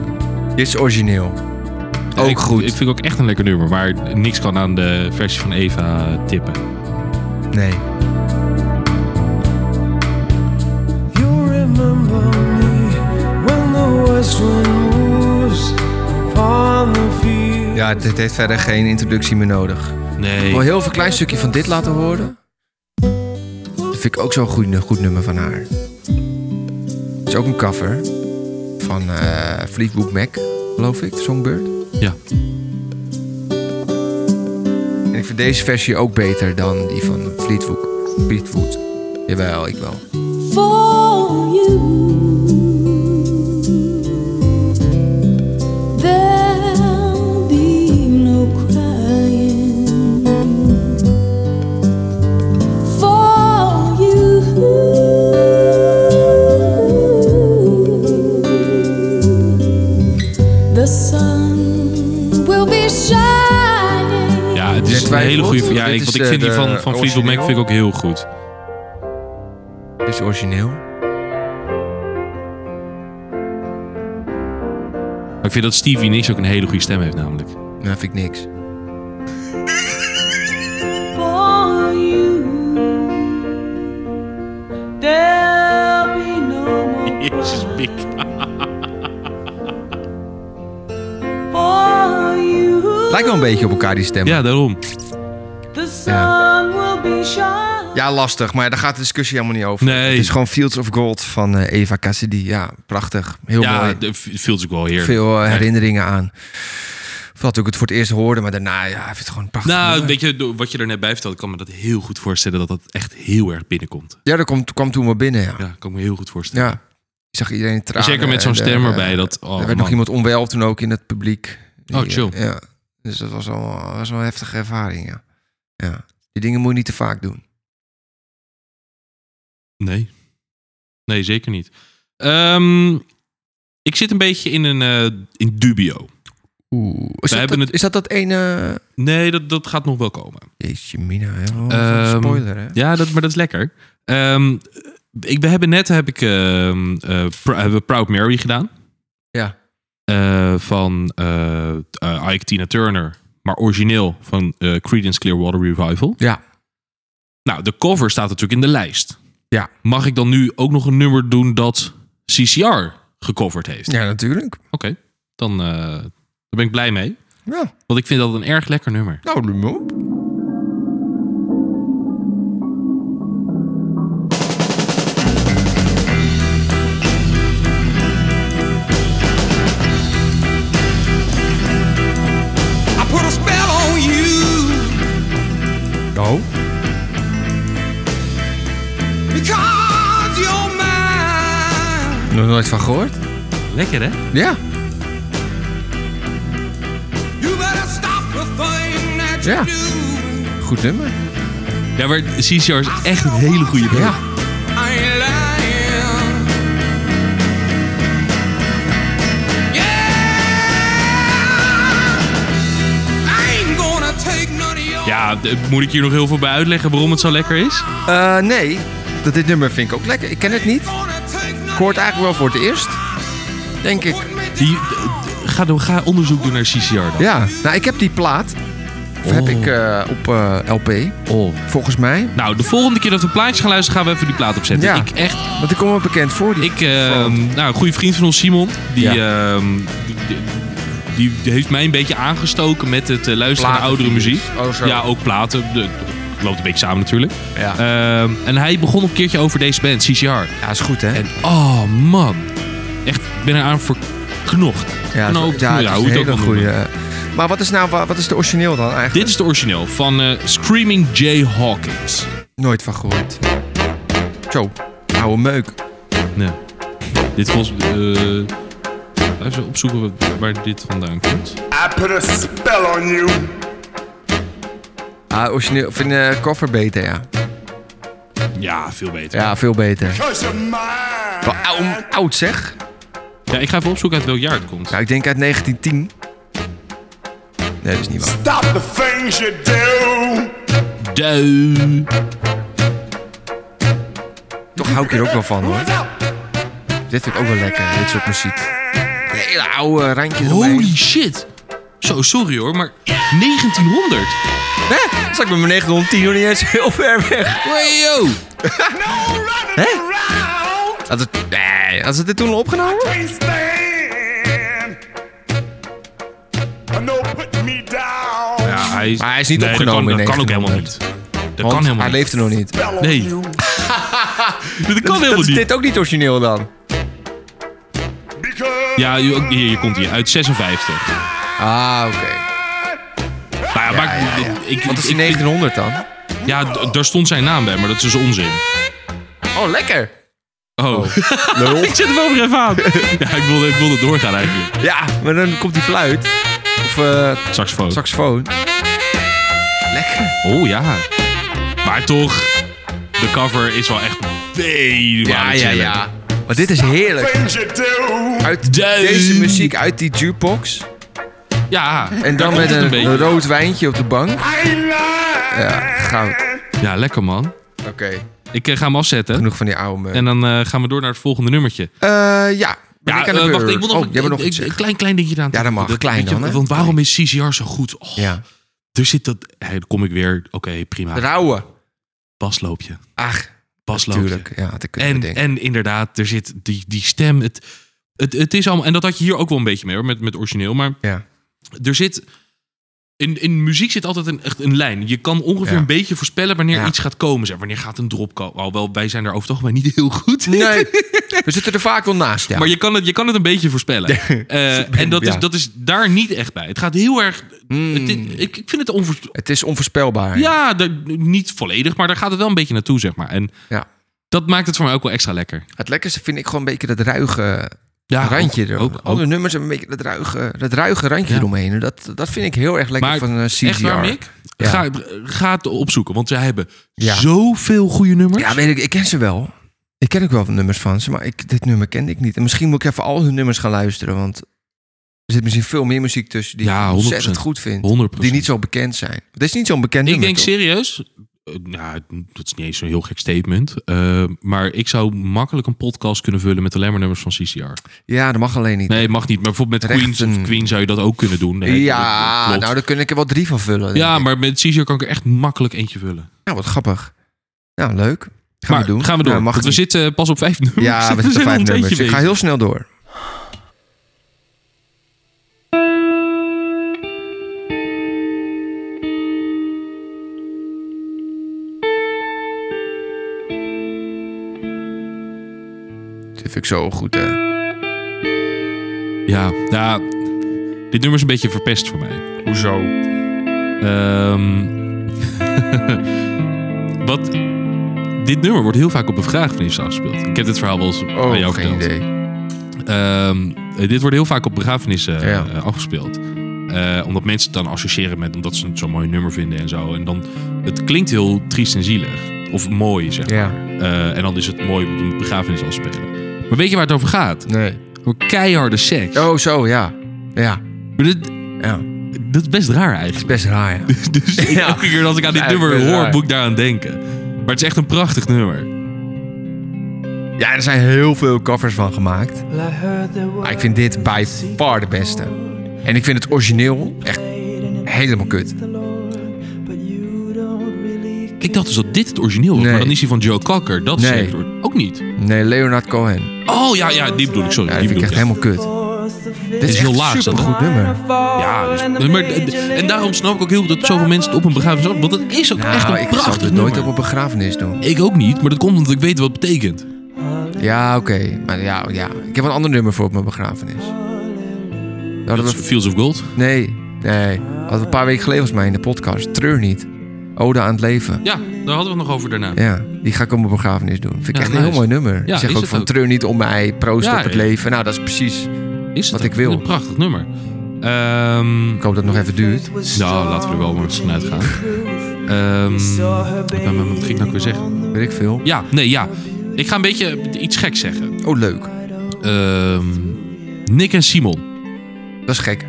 Speaker 2: Dit is origineel. Ook
Speaker 1: ik,
Speaker 2: goed.
Speaker 1: Ik vind ook echt een lekker nummer, maar niks kan aan de versie van Eva tippen.
Speaker 2: nee.
Speaker 4: You remember me when the west wind moves on the field.
Speaker 2: Ja, dit heeft verder geen introductie meer nodig. Ik
Speaker 1: Nee,
Speaker 2: wil heel veel klein stukje van dit laten horen. Dat vind ik ook zo'n goed, goed nummer van haar. Het is ook een cover van eh Fleetwood Mac, geloof ik, Songbird.
Speaker 1: ja.
Speaker 2: En ik vind deze versie ook beter dan die van Fleetwood. Fleetwood. Jawel, ik wel.
Speaker 5: for you. There'll be no crying for you. The sun will be shining.
Speaker 1: Ja, het is
Speaker 2: Jij
Speaker 1: een hele
Speaker 2: twijfelt?
Speaker 1: goede... Ja,
Speaker 2: Dit
Speaker 1: ik,
Speaker 2: is,
Speaker 1: want ik
Speaker 2: eh,
Speaker 1: vind die
Speaker 2: de
Speaker 1: van, van Fleetwood Mac
Speaker 2: origineel.
Speaker 1: vind ik ook heel goed.
Speaker 2: Dit is origineel.
Speaker 1: Maar ik vind dat Stevie Nicks ook een hele goede stem heeft namelijk.
Speaker 2: Nou, vind ik niks.
Speaker 5: for you. There'll be no more
Speaker 1: Jezus, Mick.
Speaker 5: for you.
Speaker 2: Lijkt wel een beetje op elkaar die stemmen.
Speaker 1: Ja, daarom.
Speaker 5: The sun will be shining.
Speaker 2: Ja, lastig, maar daar gaat de discussie helemaal niet over.
Speaker 1: Nee.
Speaker 2: Het is gewoon Fields of Gold van eh, Eva Cassidy. Ja, prachtig. Heel
Speaker 1: Ja,
Speaker 2: mooi.
Speaker 1: de- voelt ook wel heerlijk.
Speaker 2: Veel eh, herinneringen aan. Vooral toen ik het voor het eerst hoorde, maar daarna, ja, ik vind het gewoon prachtig.
Speaker 1: Nou,
Speaker 2: nummer.
Speaker 1: weet je, do- wat je er net bij vertelde, ik kan me dat heel goed voorstellen dat dat echt heel erg binnenkomt.
Speaker 2: Ja, dat kwam, kwam toen wel binnen, ja.
Speaker 1: Ja, kan ik me heel goed voorstellen.
Speaker 2: ja. Ik zag iedereen tranen.
Speaker 1: Zeker met
Speaker 2: en,
Speaker 1: zo'n stem
Speaker 2: eh,
Speaker 1: erbij, dat...
Speaker 2: er
Speaker 1: Oh,
Speaker 2: werd nog
Speaker 1: man.
Speaker 2: iemand onwel toen ook in het publiek. Die,
Speaker 1: Oh, chill.
Speaker 2: eh, Ja. Dus dat was al was wel een heftige ervaring, ja. ja. Die dingen moet je niet te vaak doen.
Speaker 1: Nee. Nee, zeker niet. Ehm, ik zit een beetje in een eh, in dubio.
Speaker 2: Oeh. Is, dat,
Speaker 1: hebben
Speaker 2: dat-
Speaker 1: het-
Speaker 2: is dat dat ene... eh,
Speaker 1: Nee, dat, dat gaat nog wel komen.
Speaker 2: Jeetje mina, hè. Oh,
Speaker 1: Ehm,
Speaker 2: spoiler hè.
Speaker 1: Ja, dat, maar dat is lekker. Ehm, ik, we hebben net heb ik, ehm, eh, Pr- hebben we Proud Mary gedaan.
Speaker 2: Ja.
Speaker 1: Eh, van eh eh, Ike Tina Turner. Maar origineel van eh, Creedence Clearwater Revival.
Speaker 2: Ja.
Speaker 1: Nou, de cover staat natuurlijk in de lijst.
Speaker 2: Ja.
Speaker 1: Mag ik dan nu ook nog een nummer doen dat CCR gecoverd heeft?
Speaker 2: Ja, natuurlijk.
Speaker 1: Oké, dan eh, daar ben ik blij mee.
Speaker 2: Ja.
Speaker 1: Want ik vind dat een erg lekker nummer.
Speaker 2: Nou, doe me op.
Speaker 4: I put a spell on you
Speaker 2: Oh.
Speaker 4: because you're mine.
Speaker 2: Nog nooit van gehoord?
Speaker 1: Lekker hè?
Speaker 2: Ja.
Speaker 4: You better stop the thing that you
Speaker 2: Ja.
Speaker 4: do.
Speaker 2: Goed nummer.
Speaker 1: Ja, maar CCR is echt een hele goede band.
Speaker 2: Ja.
Speaker 4: I ain't lying. Yeah, I ain't gonna take none of your.
Speaker 1: Ja, d- moet ik hier nog heel veel bij uitleggen waarom het zo lekker is?
Speaker 2: Eh, nee, dat dit nummer vind ik ook lekker. Ik ken het niet.
Speaker 4: Gonna take none
Speaker 2: Ik hoor het eigenlijk wel voor het eerst. Denk ik.
Speaker 1: Die, d- d- ga, door- ga onderzoek doen naar CCR dan.
Speaker 2: Ja, nou ik heb die plaat. Of heb
Speaker 1: Oh.
Speaker 2: ik eh, op eh, LP,
Speaker 1: Oh.
Speaker 2: volgens mij.
Speaker 1: Nou, de volgende keer dat we plaatjes gaan luisteren, gaan we even die plaat opzetten.
Speaker 2: Ja.
Speaker 1: Ik echt,
Speaker 2: Want ik kom wel bekend voor. Die
Speaker 1: ik, ehm, nou, een goede vriend van ons, Simon, die, ehm, die, die- die, die heeft mij een beetje aangestoken met het eh, luisteren naar
Speaker 2: Platen
Speaker 1: oudere muziek.
Speaker 2: video's. Oh, zo.
Speaker 1: Ja, ook platen. De, loopt een beetje samen natuurlijk.
Speaker 2: Ja.
Speaker 1: Ehm, en hij begon een keertje over deze band, CCR.
Speaker 2: ja, is goed hè.
Speaker 1: En oh man, echt, ik ben eraan verknocht.
Speaker 2: ja,
Speaker 1: Knoop-
Speaker 2: het- ja, het is
Speaker 1: hoe
Speaker 2: een
Speaker 1: je het
Speaker 2: hele
Speaker 1: ook wil noemen.
Speaker 2: goede. eh, Maar wat is nou, wa- wat is de origineel dan eigenlijk?
Speaker 1: Dit is de origineel van eh, Screaming Jay Hawkins.
Speaker 2: Nooit van gehoord. Zo, oude meuk.
Speaker 1: Nee. Dit was. eh laten we eens opzoeken wat- waar dit vandaan komt.
Speaker 9: I put a spell on you.
Speaker 2: Ah, origineel, vind eh cover beter ja.
Speaker 1: Ja, veel beter. Ja.
Speaker 2: Ja, veel beter.
Speaker 9: Cause you're mine.
Speaker 2: Wel oud, oud zeg.
Speaker 1: ik ga even opzoeken uit welk jaar het komt.
Speaker 2: Nou, ik denk uit 1910. Nee, dat is niet waar.
Speaker 9: Stop the things you do.
Speaker 1: Duh.
Speaker 2: Toch hou ik hier ook wel van hoor.
Speaker 9: What's up?
Speaker 2: Dit vind ik ook wel lekker, dit soort muziek. De hele oude randjes
Speaker 1: Holy
Speaker 2: omheen.
Speaker 1: shit. Zo, sorry hoor, maar 1900.
Speaker 2: Hè? Zat ik met mijn 910 nog niet eens heel ver weg.
Speaker 1: Wayo.
Speaker 9: No running around.
Speaker 2: Had het, nee, had ze dit toen al opgenomen?
Speaker 9: Can't stand. No, put me down.
Speaker 1: Ja, hij is,
Speaker 2: Maar hij is niet
Speaker 1: Nee, dat
Speaker 2: opgenomen
Speaker 1: kan-
Speaker 2: in
Speaker 1: Dat kan ook helemaal
Speaker 2: 1900.
Speaker 1: niet. Dat
Speaker 2: Want
Speaker 1: kan helemaal
Speaker 2: hij
Speaker 1: niet.
Speaker 2: leefde nog niet. Dat,
Speaker 9: Spell on
Speaker 1: Nee.
Speaker 9: you.
Speaker 1: Dat kan
Speaker 2: is- dat
Speaker 1: helemaal
Speaker 2: is
Speaker 1: niet.
Speaker 2: dit ook niet origineel dan.
Speaker 9: Because
Speaker 1: Ja, u- ook- hier, hier komt hij. Uit 56.
Speaker 2: Ah, oké.
Speaker 1: Nou ja, maar
Speaker 2: ja,
Speaker 1: ik-
Speaker 2: ja.
Speaker 1: Ik,
Speaker 2: Wat is die
Speaker 1: ik-
Speaker 2: 1900 dan?
Speaker 1: Ja, d- daar stond zijn naam bij, maar dat is dus onzin.
Speaker 2: Oh, lekker.
Speaker 1: Oh. ik zet hem wel weer even aan. Ja, ik wilde, ik wilde doorgaan eigenlijk.
Speaker 2: Ja, maar dan komt die fluit. Of eh
Speaker 1: Saxofoon.
Speaker 2: saxofoon. Lekker.
Speaker 1: oh ja. Maar toch, de cover is wel echt vele malen chiller.
Speaker 2: Maar dit is heerlijk.
Speaker 9: things you do.
Speaker 2: Uit
Speaker 1: Duin.
Speaker 2: deze muziek, uit die jukebox.
Speaker 1: Ja,
Speaker 2: En
Speaker 1: daar
Speaker 2: dan
Speaker 1: komt
Speaker 2: met
Speaker 1: het
Speaker 2: een,
Speaker 1: beetje.
Speaker 2: rood wijntje op de bank.
Speaker 9: I lie.
Speaker 2: Ja, goud.
Speaker 1: Ja, lekker man.
Speaker 2: Oké,
Speaker 1: Ik eh, ga hem afzetten.
Speaker 2: genoeg van die oude meuk.
Speaker 1: En dan eh, gaan we door naar het volgende nummertje.
Speaker 2: Eh, ja. Ben
Speaker 1: Ja,
Speaker 2: ik aan de
Speaker 1: eh,
Speaker 2: beurt?
Speaker 1: wacht, ik wil nog,
Speaker 2: oh,
Speaker 1: een,
Speaker 2: jij bent nog iets
Speaker 1: een- een
Speaker 2: zeggen.
Speaker 1: klein, klein dingetje aan.
Speaker 2: Ja, dat mag. Klein
Speaker 1: weet je,
Speaker 2: dan, hè?
Speaker 1: Want waarom is CCR zo goed? Oh,
Speaker 2: Ja.
Speaker 1: Er zit dat... Hé, dan kom ik weer. Oké, prima.
Speaker 2: Rauwe.
Speaker 1: Basloopje.
Speaker 2: Ach,
Speaker 1: Basloopje.
Speaker 2: tuurlijk. Ja, dat kun je
Speaker 1: En,
Speaker 2: bedenken.
Speaker 1: en inderdaad, er zit die, die stem. Het, het, het is allemaal. En dat had je hier ook wel een beetje mee hoor, met, met origineel. Maar
Speaker 2: Ja.
Speaker 1: er zit. In, in muziek zit altijd een, echt een lijn. Je kan ongeveer
Speaker 2: Ja.
Speaker 1: een beetje voorspellen wanneer
Speaker 2: Ja.
Speaker 1: iets gaat komen. Zeg, wanneer gaat een drop komen? Alhoewel, wij zijn daar over het algemeen niet heel goed. in.
Speaker 2: Nee, we zitten er vaak wel naast, ja.
Speaker 1: Maar je kan, het, je kan het een beetje voorspellen. Eh, en dat,
Speaker 2: Ja. Hmm.
Speaker 1: is, dat is daar niet echt bij. Het gaat heel erg. het- ik, ik vind het onvoorspelbaar.
Speaker 2: Het is onvoorspelbaar.
Speaker 1: Ja, daar- niet volledig, maar daar gaat het wel een beetje naartoe, zeg maar. En
Speaker 2: Ja.
Speaker 1: dat maakt het voor mij ook wel extra lekker.
Speaker 2: Het lekkerste vind ik gewoon een beetje dat ruige
Speaker 1: Ja,
Speaker 2: randje
Speaker 1: ook-
Speaker 2: er.
Speaker 1: ook- ook-
Speaker 2: Alle nummers hebben een beetje dat ruige, dat ruige randje
Speaker 1: Ja.
Speaker 2: eromheen. En Dat, dat vind ik heel erg lekker
Speaker 1: Maar
Speaker 2: van eh, CGR.
Speaker 1: Echt waar, Mick?
Speaker 2: Ja.
Speaker 1: Ga, ga het opzoeken, want zij hebben
Speaker 2: Ja.
Speaker 1: zoveel goede nummers.
Speaker 2: Ja, weet ik, ik ken ze wel. Ik ken ook wel nummers van ze, maar ik, dit nummer kende ik niet. En misschien moet ik even al hun nummers gaan luisteren, want Er zit misschien veel meer muziek tussen die
Speaker 1: Ja,
Speaker 2: ik
Speaker 1: 100%.
Speaker 2: ontzettend goed vind.
Speaker 1: 100%.
Speaker 2: Die niet zo bekend zijn. Het is niet zo'n bekend
Speaker 1: Ik
Speaker 2: nummer,
Speaker 1: denk
Speaker 2: toch?
Speaker 1: serieus. eh, nou, dat is niet eens zo'n heel gek statement. eh, maar ik zou makkelijk een podcast kunnen vullen met alleen maar nummers van CCR.
Speaker 2: Ja, dat mag alleen niet.
Speaker 1: Nee, mag niet. Maar bijvoorbeeld met
Speaker 2: Recht
Speaker 1: Queens
Speaker 2: een-
Speaker 1: of Queen zou je dat ook kunnen doen. Nee,
Speaker 2: ja,
Speaker 1: dat- dat klopt.
Speaker 2: nou, daar kun ik er wel drie van vullen. denk
Speaker 1: ja,
Speaker 2: ik.
Speaker 1: maar met CCR kan ik er echt makkelijk eentje vullen.
Speaker 2: Nou, wat grappig. Nou, leuk. Gaan
Speaker 1: maar
Speaker 2: we doen.
Speaker 1: Gaan we door.
Speaker 2: Nou, mag
Speaker 1: want we
Speaker 2: niet.
Speaker 1: zitten pas op vijf nummers.
Speaker 2: Ja, we zitten
Speaker 1: zijn al
Speaker 2: vijf
Speaker 1: dus een
Speaker 2: nummers.
Speaker 1: tijdje
Speaker 2: Ik ga
Speaker 1: bezig.
Speaker 2: heel snel door. Dit vind ik zo goed, hè.
Speaker 1: Ja, ja, dit nummer is een beetje verpest voor mij.
Speaker 2: Hoezo?
Speaker 1: Ehm, wat, dit nummer wordt heel vaak op een vraag van afgespeeld. Ik heb dit verhaal wel eens
Speaker 2: Oh,
Speaker 1: aan jou
Speaker 2: geen
Speaker 1: verteld.
Speaker 2: idee.
Speaker 1: Ehm, eh, dit wordt heel vaak op begrafenissen eh,
Speaker 2: Ja.
Speaker 1: eh, afgespeeld. Eh, omdat mensen het dan associëren met omdat ze het zo'n mooi nummer vinden en zo. En dan, het klinkt heel triest en zielig. Of mooi, zeg
Speaker 2: Ja.
Speaker 1: maar. Eh, en dan is het mooi om het op een begrafenis af te spelen. Maar weet je waar het over gaat?
Speaker 2: Nee.
Speaker 1: Over keiharde seks.
Speaker 2: Oh, zo, ja. Ja,
Speaker 1: Maar dit-
Speaker 2: ja.
Speaker 1: dat is best raar eigenlijk.
Speaker 2: Best raar, ja.
Speaker 1: Dus ik-
Speaker 2: Ja.
Speaker 1: elke keer dat ik aan dit
Speaker 2: Ja,
Speaker 1: nummer
Speaker 2: best
Speaker 1: hoor,
Speaker 2: raar.
Speaker 1: moet ik daaraan denken. Maar het is echt een prachtig nummer.
Speaker 2: Ja, er zijn heel veel covers van gemaakt. Maar ik vind dit by far de beste. En ik vind het origineel echt helemaal kut.
Speaker 1: Ik dacht dus dat dit het origineel was,
Speaker 2: Nee.
Speaker 1: maar dan is die van Joe Cocker. Dat is
Speaker 2: Nee.
Speaker 1: echt- ook niet.
Speaker 2: Nee, Leonard Cohen.
Speaker 1: Oh ja, ja, die bedoel ik, sorry.
Speaker 2: Ja, die
Speaker 1: die
Speaker 2: vind ik
Speaker 1: bedoel
Speaker 2: echt
Speaker 1: ik.
Speaker 2: helemaal kut. Dit
Speaker 1: is
Speaker 2: is
Speaker 1: heel
Speaker 2: echt
Speaker 1: laag, is dat
Speaker 2: super goed nummer.
Speaker 1: Ja, dus- maar, en daarom snap ik ook heel goed dat zoveel mensen het op een begrafenis af- Want het is ook echt
Speaker 2: Nou,
Speaker 1: een
Speaker 2: ik zou
Speaker 1: prachtig
Speaker 2: dit
Speaker 1: nummer.
Speaker 2: nooit op een begrafenis doen.
Speaker 1: Ik ook niet, maar dat komt omdat ik weet wat het betekent.
Speaker 2: Ja, oké. Maar ja, ja, ik heb een ander nummer voor op mijn begrafenis. Dat
Speaker 1: Dat
Speaker 2: hadden
Speaker 1: is
Speaker 2: we...
Speaker 1: Fields of Gold.
Speaker 2: Nee, nee. Hadden we een paar weken geleden volgens mij in de podcast. Treur niet. Ode aan het leven.
Speaker 1: Ja, daar hadden we het nog over daarna.
Speaker 2: Ja, die ga ik op mijn begrafenis doen. Vind ik
Speaker 1: Ja,
Speaker 2: echt een
Speaker 1: nice.
Speaker 2: heel mooi nummer.
Speaker 1: Ja,
Speaker 2: ik zeg
Speaker 1: is
Speaker 2: ook
Speaker 1: het
Speaker 2: van
Speaker 1: ook.
Speaker 2: treur niet om mij, proost
Speaker 1: Ja,
Speaker 2: op het
Speaker 1: ja.
Speaker 2: leven. Nou, dat is precies.
Speaker 1: Is het
Speaker 2: Wat
Speaker 1: ook.
Speaker 2: ik wil.
Speaker 1: Een prachtig nummer. Ehm,
Speaker 2: Ik hoop dat het nog even duurt.
Speaker 1: nou, laten we er wel maar eens vanuit gaan. Ehm, wat ben- wat ging ik nou ook weer zeggen?
Speaker 2: Weet ik veel.
Speaker 1: Ja, nee, ja. Ik ga een beetje iets geks zeggen.
Speaker 2: Oh, leuk.
Speaker 1: Ehm, Nick en Simon.
Speaker 2: Dat is gek.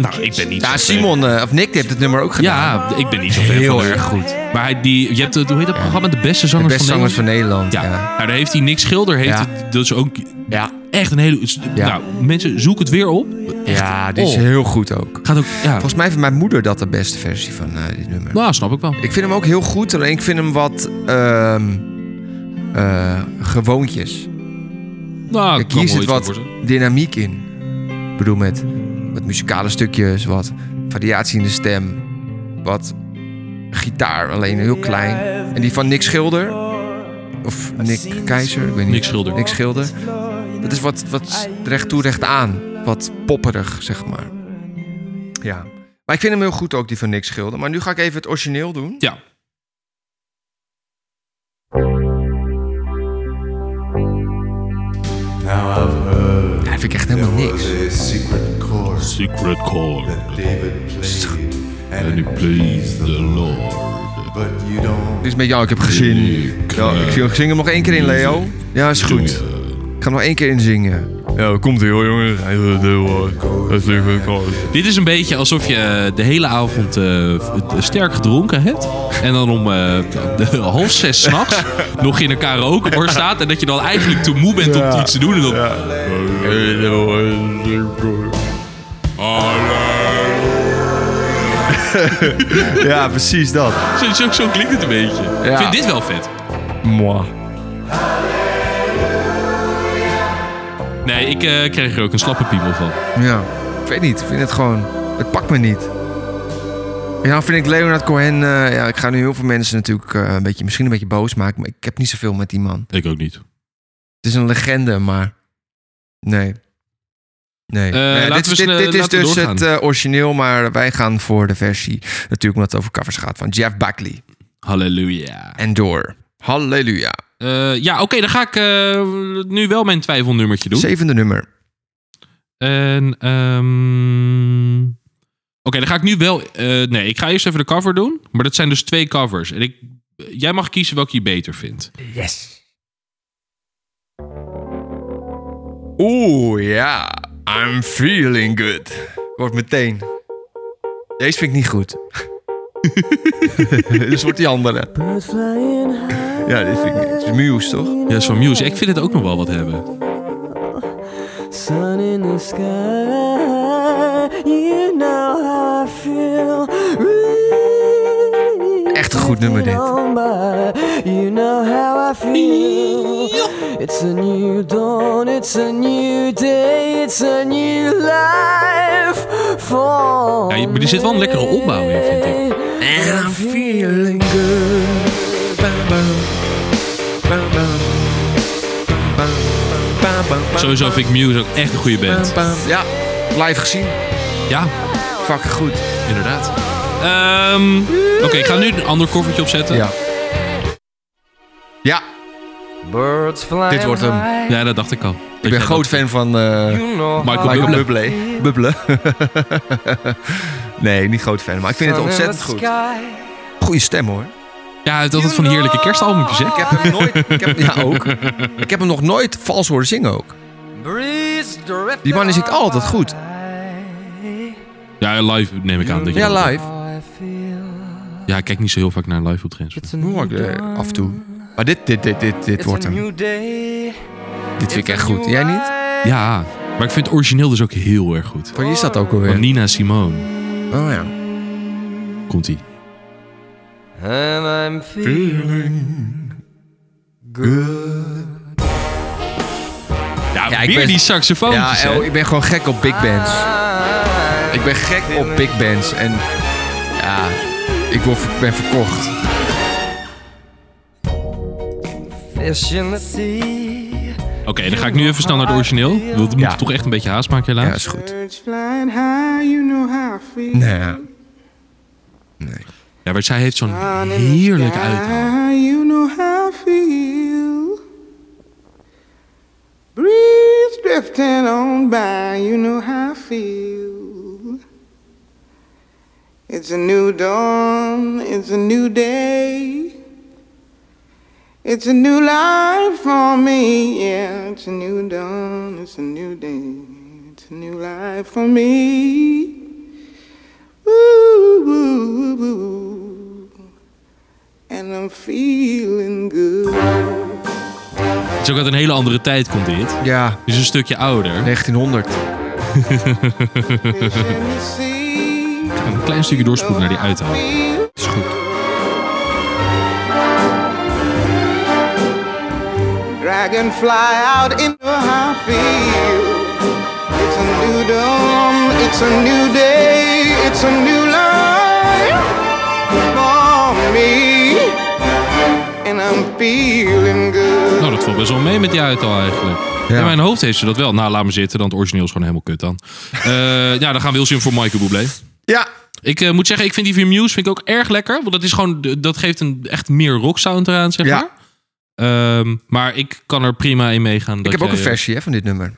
Speaker 1: Nou, ik ben niet
Speaker 2: Ja,
Speaker 1: zo-
Speaker 2: Simon, eh, of Nick, die heeft het nummer ook gedaan.
Speaker 1: Ja, ik ben niet zo fan
Speaker 2: Heel
Speaker 1: van hem.
Speaker 2: erg goed.
Speaker 1: Maar hij, die, je hebt het, hoe heet dat programma? De beste
Speaker 2: De
Speaker 1: zangers
Speaker 2: beste
Speaker 1: van
Speaker 2: zangers
Speaker 1: Nederland.
Speaker 2: van Nederland.
Speaker 1: Ja.
Speaker 2: Ja.
Speaker 1: Nou, daar heeft hij Nick Schilder. Heet
Speaker 2: Ja.
Speaker 1: het, dat is ook
Speaker 2: Ja,
Speaker 1: echt een hele...
Speaker 2: Ja.
Speaker 1: Nou, mensen, zoek het weer op. Echt,
Speaker 2: ja die is
Speaker 1: oh.
Speaker 2: heel goed ook.
Speaker 1: Gaat ook... Ja,
Speaker 2: Volgens mij vindt mijn moeder dat de beste versie van eh, dit nummer.
Speaker 1: nou, snap ik wel.
Speaker 2: Ik vind hem ook heel goed, alleen ik vind hem wat ehm, eh, gewoontjes.
Speaker 1: Nou,
Speaker 2: Ik
Speaker 1: kan
Speaker 2: hier
Speaker 1: wel
Speaker 2: zit
Speaker 1: iets
Speaker 2: wat
Speaker 1: voor zijn.
Speaker 2: dynamiek in. Ik bedoel, met wat muzikale stukjes, wat variatie in de stem, wat gitaar, alleen heel klein. En die van Nick Schilder, of Nick Keizer, ik weet niet.
Speaker 1: Nick Schilder.
Speaker 2: Nick Schilder. Dat is wat, wat recht toe, recht aan. Wat popperig, zeg maar. Ja. Maar ik vind hem heel goed ook, die van Nick Schilder. Maar nu ga ik even het origineel doen.
Speaker 1: Ja.
Speaker 2: Ja, dat vind ik echt helemaal niks.
Speaker 1: Secret chord. And it please the Lord.
Speaker 2: Dit is met jou, ik heb gezin. Ja, ik zing- ik zing hem nog één keer in, Leo. Ja, is goed. Ik ga hem nog één keer in zingen. Ja, komt ie hoor, jongen. Dat is leuk,
Speaker 1: Dit is een beetje alsof je de hele avond eh, sterk gedronken hebt. En dan om eh, de- half zes s'nachts nog in een karaokebar staat. En dat je dan eigenlijk te moe bent om iets te doen. En dan,
Speaker 2: Ja, precies dat.
Speaker 1: zo, zo, zo klinkt het een beetje. Ik vind dit wel vet.
Speaker 2: Moi.
Speaker 1: Nee, ik eh, kreeg er ook een slappe piemel van.
Speaker 2: Ja, ik weet niet. Ik vind het gewoon... Het pakt me niet. Ja, vind ik Leonard Cohen... eh, ja, ik ga nu heel veel mensen natuurlijk eh, een beetje, misschien een beetje boos maken. Maar ik heb niet zoveel met die man.
Speaker 1: Ik ook niet.
Speaker 2: Het is een legende, maar... Nee. Nee.
Speaker 1: Eh,
Speaker 2: Nee,
Speaker 1: laten
Speaker 2: dit,
Speaker 1: we
Speaker 2: is-
Speaker 1: eens,
Speaker 2: dit,
Speaker 1: eh,
Speaker 2: dit is
Speaker 1: laten we
Speaker 2: dus
Speaker 1: doorgaan.
Speaker 2: het eh, origineel, maar wij gaan voor de versie... Natuurlijk omdat het over covers gaat van Jeff Buckley.
Speaker 1: Halleluja.
Speaker 2: En door. Halleluja.
Speaker 1: Eh, ja, oké, dan ga ik eh, nu wel mijn twijfelnummertje doen.
Speaker 2: Zevende nummer.
Speaker 1: En, ehm, Oké, dan ga ik nu wel... eh, nee, ik ga eerst even de cover doen. Maar dat zijn dus twee covers. En ik, jij mag kiezen welke je beter vindt.
Speaker 2: Yes. Oeh, ja. I'm feeling good. Wordt meteen. Deze vind ik niet goed. dus wordt die andere. Ja, dit vind ik niet. Het is Muse, toch?
Speaker 1: Ja, is van Muse. Ik vind het ook nog wel wat hebben.
Speaker 3: Sun in the sky, you know how I feel. Really
Speaker 2: Echt een goed nummer, dit.
Speaker 3: on by, you know how I feel. It's a new dawn, it's a new day, it's a new life for
Speaker 1: Ja, je- maar er zit wel een lekkere opbouw in, vind ik.
Speaker 2: And I'm feeling good. Bam, bam. Bam, bam. Bam, bam. Bam, bam.
Speaker 1: Sowieso vind ik Muse ook echt een goede band.
Speaker 2: Ja, live gezien.
Speaker 1: Ja,
Speaker 2: Fucking goed.
Speaker 1: inderdaad. Ehm, Oké, ik ga nu een ander koffertje opzetten.
Speaker 2: Ja. Ja,
Speaker 4: Birds flying
Speaker 2: dit wordt hem.
Speaker 1: Ja, dat dacht ik al.
Speaker 2: Ik ben groot fan van eh
Speaker 1: Michael
Speaker 2: Michael
Speaker 1: Bublé.
Speaker 2: Bublé. Bublé. nee, niet groot fan, maar ik vind het ontzettend goed. Goeie stem hoor.
Speaker 1: Ja, hij heeft altijd van die heerlijke kerstalbumpjes, hè?
Speaker 2: Ik heb hem nooit... Ik heb, ja, ook. Ik heb hem nog nooit vals horen zingen ook. Die man zingt altijd goed.
Speaker 1: Ja, live neem ik aan. Dat je dat-
Speaker 2: Ja, live.
Speaker 1: Ja, ik kijk niet zo heel vaak naar live optredens.
Speaker 2: Hoor ik, eh, af en toe. Maar dit, dit, dit, dit, dit wordt hem. Dit vind ik echt goed. Jij niet?
Speaker 1: Ja, maar ik vind het origineel dus ook heel erg goed.
Speaker 2: Van je is dat ook
Speaker 1: Van
Speaker 2: alweer?
Speaker 1: Nina Simone
Speaker 2: Oh ja.
Speaker 1: komt ie.
Speaker 4: And I'm
Speaker 1: Ja,
Speaker 2: Ja, ik
Speaker 1: weer
Speaker 2: ben-
Speaker 1: die saxofoon.
Speaker 2: Ja, El, ik ben gewoon gek op big bands. Ik ben gek op big bands en ja, ik word, ik ben verkocht.
Speaker 4: fish in the sea.
Speaker 1: Oké, dan ga ik nu even snel naar het origineel. Want
Speaker 2: Ja.
Speaker 1: we moeten toch echt een beetje haast maken
Speaker 2: Ja,
Speaker 1: helaas.
Speaker 2: is goed.
Speaker 9: Flying high, you know how I feel.
Speaker 2: Nou ja.
Speaker 1: Ja, maar zij heeft zo'n heerlijk uithaal.
Speaker 9: Ah, you know how I feel. Breeze drifting on by, you know how I feel. It's a new dawn, it's a new day. It's a new life for me, yeah. It's a new dawn, it's a new day. It's a new life for me. Ooh, ooh, ooh, ooh and I'm feeling good.
Speaker 1: Het is ook uit een hele andere tijd komt dit.
Speaker 2: Ja,
Speaker 1: Dus een stukje ouder.
Speaker 2: 1900.
Speaker 9: See,
Speaker 1: Een klein stukje doorspoelen naar die uithaal.
Speaker 9: feel
Speaker 2: Is goed.
Speaker 9: dragonfly out in the high field. It's a new dawn, it's a new day, it's a new life for me, and I'm feeling good.
Speaker 1: Nou, dat valt best wel mee met die uithaal eigenlijk.
Speaker 2: Ja.
Speaker 1: In mijn hoofd heeft ze dat wel. Nou, laat me zitten. Dan het origineel is gewoon helemaal kut dan. Eh, ja, dan gaan we heel zin voor Michael Bublé.
Speaker 2: Ja,
Speaker 1: Ik eh, moet zeggen, ik vind die van Muse vind ik ook erg lekker. Want dat is gewoon, dat geeft een echt meer rock sound eraan, zeg
Speaker 2: Ja.
Speaker 1: maar. Ehm, maar ik kan er prima in meegaan. eh,
Speaker 2: ik heb ook een versie hè, van dit nummer.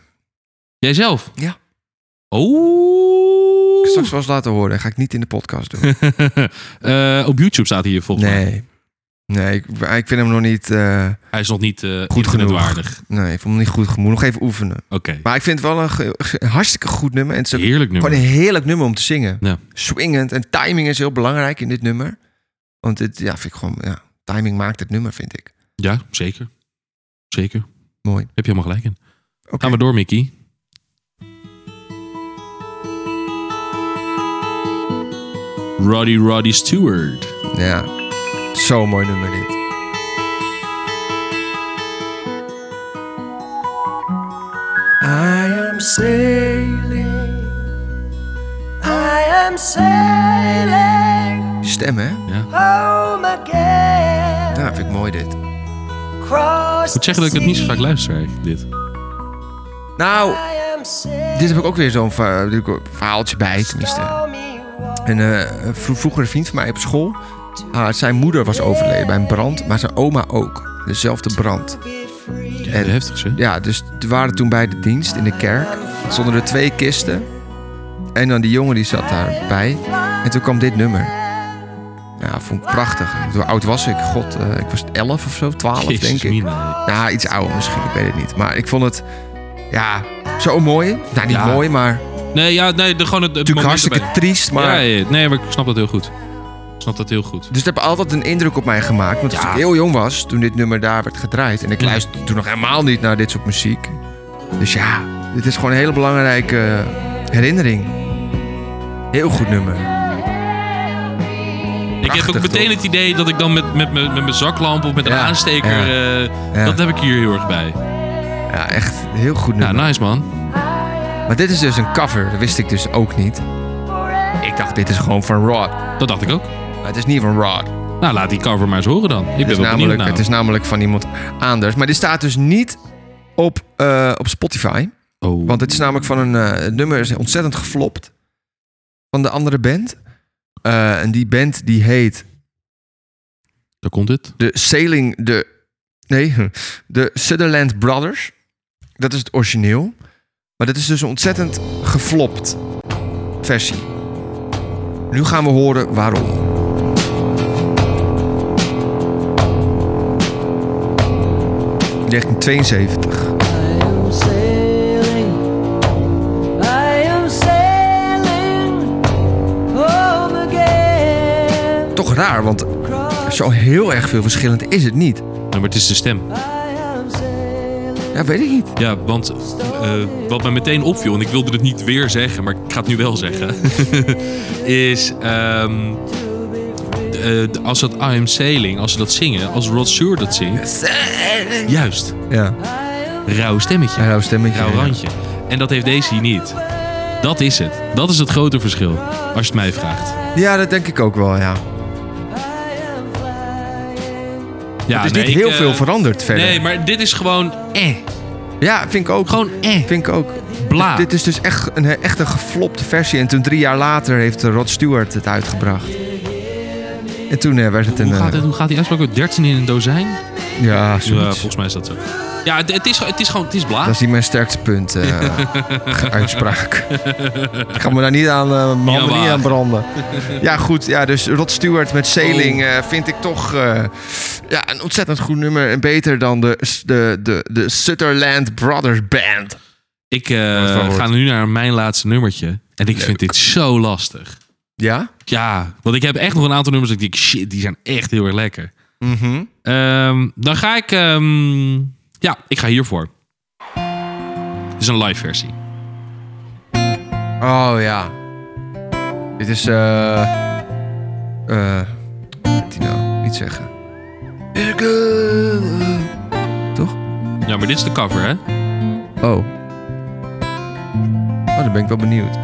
Speaker 1: Jijzelf?
Speaker 2: Ja.
Speaker 1: Oh.
Speaker 2: Ik straks wel eens laten horen. Ga ik niet in de podcast doen.
Speaker 1: Eh, op YouTube staat hij hier volgens mij.
Speaker 2: Nee. Nee, ik, ik vind hem nog niet... eh,
Speaker 1: Hij is nog niet eh
Speaker 2: Goed genoeg.
Speaker 1: internetwaardig.
Speaker 2: nee, ik vond hem niet goed genoeg. Nog even oefenen.
Speaker 1: Oké.
Speaker 2: Maar ik vind het wel een ge- ge- hartstikke goed nummer. En het is ook
Speaker 1: Heerlijk nummer.
Speaker 2: Gewoon een heerlijk nummer om te zingen.
Speaker 1: Ja.
Speaker 2: Swingend. En timing is heel belangrijk in dit nummer. Want dit, ja, vind ik gewoon, ja, timing maakt het nummer, vind ik.
Speaker 1: Ja, zeker. Zeker.
Speaker 2: Mooi.
Speaker 1: Heb je helemaal gelijk in.
Speaker 2: Oké.
Speaker 1: Gaan we door, Mickey. Roddy Roddy Stewart.
Speaker 2: Ja. Zo'n mooi nummer dit.
Speaker 4: I am sailing. I am sailing
Speaker 2: Die Stem, hè?
Speaker 4: home again.
Speaker 2: Ja, Nou, vind ik mooi dit.
Speaker 4: Cross
Speaker 1: Ik moet zeggen dat ik het niet zo vaak luister, eigenlijk, dit.
Speaker 2: Nou,
Speaker 4: am
Speaker 2: dit heb ik ook weer zo'n va- doe ik ook een verhaaltje bij, tenminste. Een eh, een vro- vroegere vriend van mij op school. ah, zijn moeder was overleden bij een brand, maar zijn oma ook. Dezelfde brand.
Speaker 1: Ja,
Speaker 2: En-
Speaker 1: heftig, hè?
Speaker 2: Ja, dus we waren toen bij de dienst in de kerk. Stonden er twee kisten. En dan die jongen die zat daarbij. En toen kwam dit nummer. Ja, vond ik prachtig. Hoe oud was ik? God, eh, ik was 11 of zo, 12
Speaker 1: Jezus,
Speaker 2: denk ik.
Speaker 1: mina.
Speaker 2: Nou, Ja, iets ouder misschien, ik weet het niet. Maar ik vond het Ja, zo mooi. Nou, niet
Speaker 1: Ja.
Speaker 2: mooi, maar
Speaker 1: Nee, ja, nee, de, gewoon het, het
Speaker 2: natuurlijk
Speaker 1: moment
Speaker 2: hartstikke
Speaker 1: erbij.
Speaker 2: triest. Maar,
Speaker 1: Ja, ja, nee, maar ik snap dat heel goed. Ik snap dat heel goed.
Speaker 2: Dus het heeft altijd een indruk op mij gemaakt. Want toen ik heel jong was, toen dit nummer daar werd gedraaid. En ik
Speaker 1: Ja.
Speaker 2: luisterde toen nog helemaal niet naar dit soort muziek. Dus ja, dit is gewoon een hele belangrijke eh, herinnering. Heel goed nummer.
Speaker 1: Ik heb ook
Speaker 2: Prachtig,
Speaker 1: meteen
Speaker 2: toch?
Speaker 1: het idee dat ik dan met, met, mijn- met mijn zaklamp of met een
Speaker 2: Ja,
Speaker 1: aansteker... eh,
Speaker 2: ja.
Speaker 1: Dat heb ik hier heel erg bij.
Speaker 2: Ja, echt een heel goed
Speaker 1: Ja, nou-
Speaker 2: nummer.
Speaker 1: nice man.
Speaker 2: Maar dit is dus een cover. Dat wist ik dus ook niet. Ik dacht, dit is gewoon van Rod.
Speaker 1: Dat dacht ik ook.
Speaker 2: Maar het is niet van Rod.
Speaker 1: Nou, laat die cover maar eens horen dan. Ik
Speaker 2: Het
Speaker 1: ben nou.
Speaker 2: is,
Speaker 1: wel benieuwd
Speaker 2: namelijk,
Speaker 1: naar.
Speaker 2: het is namelijk van iemand anders. Maar dit staat dus niet op, eh, op Spotify.
Speaker 1: Oh.
Speaker 2: Want het is namelijk van een eh, het nummer is ontzettend geflopt. Van de andere band. Eh, en die band die heet
Speaker 1: Daar komt het.
Speaker 2: de Sailing... De, nee, de Sutherland Brothers. Dat is het origineel. Maar dat is dus een ontzettend geflopt versie. Nu gaan we horen waarom. In 1972.
Speaker 3: am sailing, I am sailing home again.
Speaker 2: Toch raar, want zo heel erg veel verschillend is het niet.
Speaker 1: Nou, maar het is de stem.
Speaker 3: I am sailing.
Speaker 2: Ja, weet ik niet.
Speaker 1: Ja, want eh, wat mij meteen opviel... en ik wilde het niet weer zeggen, maar ik ga het nu wel zeggen... is... ehm, eh, als dat I Am Sailing, als ze dat zingen... als Rod Stewart dat zingt... Juist.
Speaker 2: Ja,
Speaker 1: Rauw stemmetje.
Speaker 2: een rauw stemmetje.
Speaker 1: Rauw
Speaker 2: ja.
Speaker 1: randje. En dat heeft deze hier niet. Dat is het. Dat is het grote verschil. Als je het mij vraagt.
Speaker 2: Ja, dat denk ik ook wel, ja.
Speaker 1: Ja,
Speaker 2: Er is
Speaker 1: nee,
Speaker 2: niet
Speaker 1: ik,
Speaker 2: heel
Speaker 1: eh,
Speaker 2: veel veranderd verder.
Speaker 1: Nee, maar dit is gewoon eh.
Speaker 2: Ja, vind ik ook.
Speaker 1: Gewoon eh.
Speaker 2: Vind ik ook.
Speaker 1: Bla.
Speaker 2: Dit is dus echt een, echt een geflopte versie. En toen drie jaar later heeft eh, Rod Stewart het uitgebracht. En toen eh, werd het een...
Speaker 1: Hoe gaat,
Speaker 2: eh,
Speaker 1: het, hoe gaat die uitspraak ook? 13 in een dozijn? Ja,
Speaker 2: Ja, zoiets.
Speaker 1: volgens mij is dat zo. Ja, het, het is, het is gewoon, het is bla.
Speaker 2: dat is niet mijn sterkste punt, eh, uitspraak. Ik ga me daar niet aan, eh, mijn handen
Speaker 1: wagen.
Speaker 2: niet aan branden. Ja, goed. Ja, dus Rod Stewart met
Speaker 1: Oh.
Speaker 2: Sailing eh, vind ik toch eh, ja, een ontzettend goed nummer. En beter dan de, de, de, de Sutherland Brothers Band.
Speaker 1: Ik eh,
Speaker 2: wel hoort.
Speaker 1: ga nu naar mijn laatste nummertje. En ik vind dit zo lastig.
Speaker 2: Ja?
Speaker 1: Ja, want ik heb echt nog een aantal nummers dat ik denk, shit, die zijn echt heel erg lekker.
Speaker 2: Mhm.
Speaker 1: Ehm, dan ga ik, ehm, ja, ik ga hiervoor. Dit is een live versie.
Speaker 2: Oh ja. Dit is. eh. eh. wat die nou? Niet zeggen. Toch?
Speaker 1: Ja, maar dit is de cover, hè?
Speaker 2: Oh. Oh, dan ben ik wel benieuwd.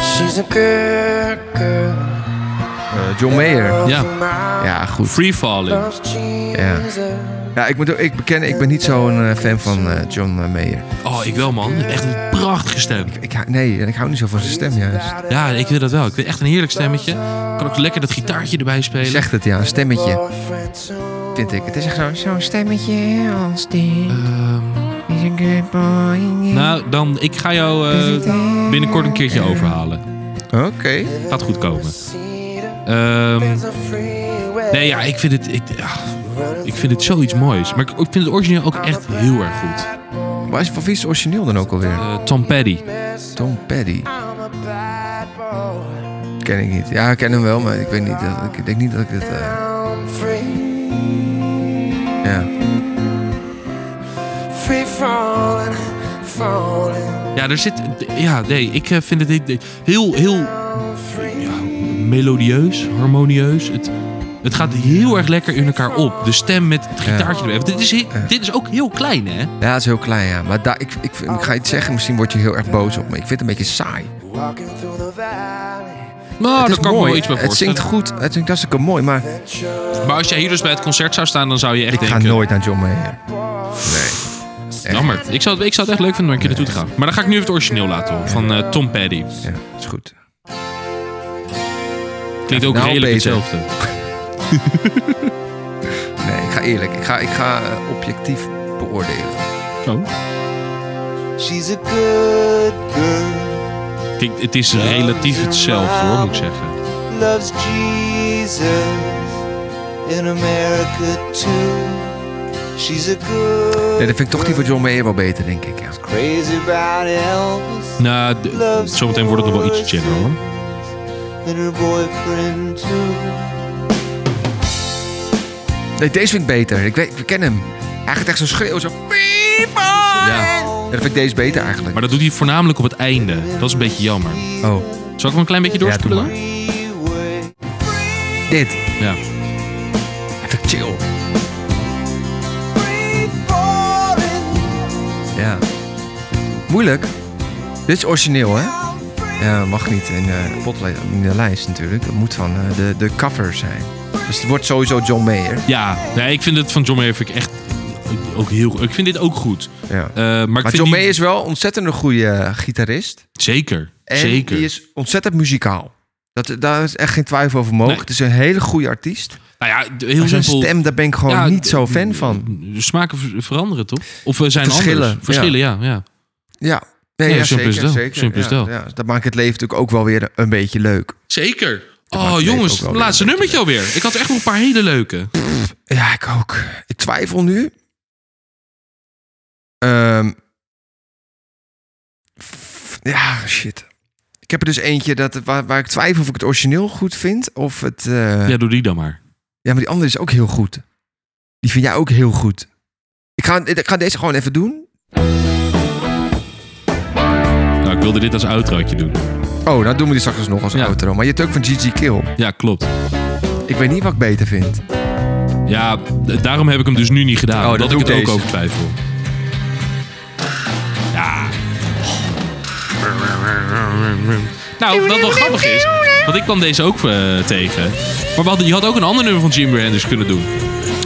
Speaker 3: She's a good girl.
Speaker 2: Eh, John Mayer.
Speaker 1: Ja,
Speaker 2: Ja, goed.
Speaker 1: Free Falling.
Speaker 2: Ja. Ja, ik moet ook- ik bekennen, ik ben niet zo'n eh, fan van eh, John eh, Mayer.
Speaker 1: Oh, ik wel, man. Je hebt Echt een prachtige stem.
Speaker 2: Ik, hou- nee, en ik hou niet zo van zijn stem juist.
Speaker 1: Ja, ik vind dat wel. Ik vind echt een heerlijk stemmetje. Ik kan ook lekker dat gitaartje erbij spelen.
Speaker 2: Zegt het ja, een stemmetje. Vind ik. Het is echt zo'n zo'n stemmetje als dit.
Speaker 1: Ehm,
Speaker 2: Is een good boy.
Speaker 1: nou, dan, ik ga jou eh, binnenkort een keertje overhalen.
Speaker 2: Oké.
Speaker 1: Gaat goed komen. Ehm, nee, ja, ik vind het... Ik, ah, ik vind het zoiets moois. Maar ik, ik vind het origineel ook echt heel erg goed.
Speaker 2: Maar is- van wie is het origineel dan ook alweer?
Speaker 1: Eh, Tom Petty.
Speaker 2: Tom Petty. Ken ik niet. Ja, ik ken hem wel, maar ik weet niet. Dat, ik denk niet dat ik het. eh, Ja.
Speaker 1: Ja, er zit... Ja, nee, ik eh, vind het dit- dit heel, heel... Ja, melodieus, harmonieus. Het, het gaat heel erg lekker in elkaar op. De stem met het gitaartje erbij. Dit is, he- dit is ook heel klein, hè?
Speaker 2: ja, het is heel klein, ja. Maar daar ik, ik, vind- ik ga iets zeggen, misschien word je heel erg boos op me. Ik vind het een beetje saai.
Speaker 1: Nou,
Speaker 2: het
Speaker 1: daar
Speaker 2: is
Speaker 1: Oh, kan ik me
Speaker 2: mooi.
Speaker 1: wel iets bij
Speaker 2: het
Speaker 1: voorstellen.
Speaker 2: zingt goed. Het zingt hartstikke mooi, maar
Speaker 1: Maar als jij hier dus bij het concert zou staan, dan zou je echt
Speaker 2: ik ga
Speaker 1: denken...
Speaker 2: nooit naar John Mayer.
Speaker 1: Jammer. Ik zou, het- ik zou het echt leuk vinden om een keer naartoe te gaan. Maar dan ga ik nu even het origineel laten horen, van eh, Tom Petty.
Speaker 2: Ja, is goed.
Speaker 1: Klinkt ook
Speaker 2: Nou,
Speaker 1: redelijk
Speaker 2: beter.
Speaker 1: hetzelfde.
Speaker 2: Nee, ik ga eerlijk. Ik ga, ik ga eh, objectief beoordelen.
Speaker 1: Zo.
Speaker 4: She's a good girl,
Speaker 1: Klinkt- het is relatief hetzelfde, hoor, moet ik zeggen.
Speaker 4: loves Jesus in America too. She's a good.
Speaker 2: Nee, dat vind ik toch die van John Mayer wel beter, denk ik. Ja.
Speaker 4: Crazy about Elvis
Speaker 1: Nou, d- zometeen wordt het nog wel iets chiller hoor.
Speaker 4: and her boyfriend too.
Speaker 2: Nee, deze vind ik beter. Ik, weet, ik ken hem. Hij gaat echt zo schreeuwen, zo... Ja. ja, dat vind ik deze beter eigenlijk.
Speaker 1: Maar dat doet hij voornamelijk op het einde. Dat is een beetje jammer.
Speaker 2: Oh,
Speaker 1: Zal ik hem een klein beetje
Speaker 2: Ja, doe
Speaker 1: doorspoelen?
Speaker 2: maar. dit.
Speaker 1: Ja.
Speaker 2: Dat vind ik chill. Ja. Moeilijk. Dit is origineel, hè? Ja, mag niet in, eh, potli- in de lijst natuurlijk. Het moet van eh, de, de cover zijn. Dus het wordt sowieso John Mayer.
Speaker 1: Ja, nee, ik vind het van John Mayer vind ik echt ook heel goed. Ik vind dit ook goed.
Speaker 2: Ja.
Speaker 1: Eh, maar ik
Speaker 2: Maar
Speaker 1: vind
Speaker 2: John
Speaker 1: die-
Speaker 2: Mayer is wel ontzettend een goede eh, gitarist.
Speaker 1: Zeker,
Speaker 2: En
Speaker 1: zeker.
Speaker 2: die is ontzettend muzikaal. Dat, daar is echt geen twijfel over mogelijk.
Speaker 1: Nee.
Speaker 2: Het is een hele goede artiest.
Speaker 1: nou ja, d- heel
Speaker 2: Maar zijn
Speaker 1: simpel.
Speaker 2: stem, daar ben ik gewoon
Speaker 1: Ja,
Speaker 2: niet zo
Speaker 1: d-
Speaker 2: fan van.
Speaker 1: De smaken ver- veranderen toch? Of we zijn
Speaker 2: Verschillen,
Speaker 1: anders. Verschillen, ja. ja,
Speaker 2: Ja, nee,
Speaker 1: Nee,
Speaker 2: ja,
Speaker 1: simpel
Speaker 2: zeker.
Speaker 1: is dat.
Speaker 2: zeker.
Speaker 1: Simpel is
Speaker 2: ja,
Speaker 1: dat.
Speaker 2: ja. dat maakt het leven natuurlijk ook wel weer een beetje leuk.
Speaker 1: Zeker.
Speaker 2: maakt het
Speaker 1: Oh
Speaker 2: leven ook
Speaker 1: jongens,
Speaker 2: wel weer
Speaker 1: laatste
Speaker 2: een
Speaker 1: nummertje alweer. Ik had echt nog een paar hele leuke.
Speaker 2: Ja, ik ook. Ik twijfel nu. Ehm, f- ja, shit. Ik heb er dus eentje dat, waar, waar ik twijfel of ik het origineel goed vind. Of het. eh, ja.
Speaker 1: Ja, doe die dan maar.
Speaker 2: maar die andere is ook heel goed. Die vind jij ook heel goed. Ik ga, ik ga deze gewoon even doen.
Speaker 1: Nou, ik wilde dit als outrootje doen.
Speaker 2: Oh, nou doen we die straks nog als
Speaker 1: Ja.
Speaker 2: outro. Maar je hebt ook van Gigi Kill.
Speaker 1: Ja, klopt.
Speaker 2: Ik weet niet wat ik beter vind.
Speaker 1: Ja, d- daarom heb ik hem dus nu niet gedaan.
Speaker 2: Oh,
Speaker 1: omdat
Speaker 2: dan
Speaker 1: ik
Speaker 2: doe
Speaker 1: er
Speaker 2: ik
Speaker 1: ook
Speaker 2: deze.
Speaker 1: over twijfel. Ja. Nou, wat wel grappig is. Want ik kwam deze ook eh, tegen. Maar we hadden- je had ook een ander nummer van Jim Brand dus kunnen doen.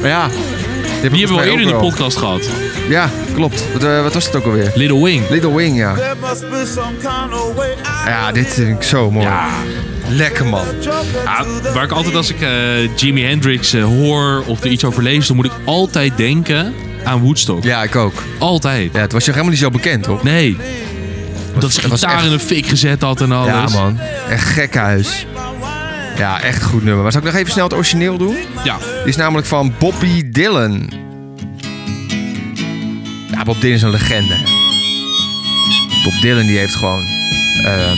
Speaker 2: Ja.
Speaker 1: Die hebben we al eerder in de podcast gehad.
Speaker 2: Ja, klopt. Wat, eh, wat was het ook alweer?
Speaker 1: Little Wing.
Speaker 2: Little Wing, ja. Ja, dit vind ik zo mooi. Lekker man.
Speaker 1: Ja, Ah, waar ik altijd als ik eh, Jimi Hendrix eh, hoor of er iets over lees, dan moet ik altijd denken aan Woodstock.
Speaker 2: Ja, ik ook.
Speaker 1: Altijd.
Speaker 2: Ja, het was je helemaal niet zo bekend, hoor.
Speaker 1: Nee. Dat ze
Speaker 2: het was
Speaker 1: gitaar
Speaker 2: echt-
Speaker 1: in een fik gezet had en alles.
Speaker 2: Ja, man. Echt gek huis. Ja, echt goed nummer. Maar zal ik nog even snel het origineel doen?
Speaker 1: Ja.
Speaker 2: Die is namelijk van Bobby Dylan. Ja, Bob Dylan is een legende. Bob Dylan die heeft gewoon ehm,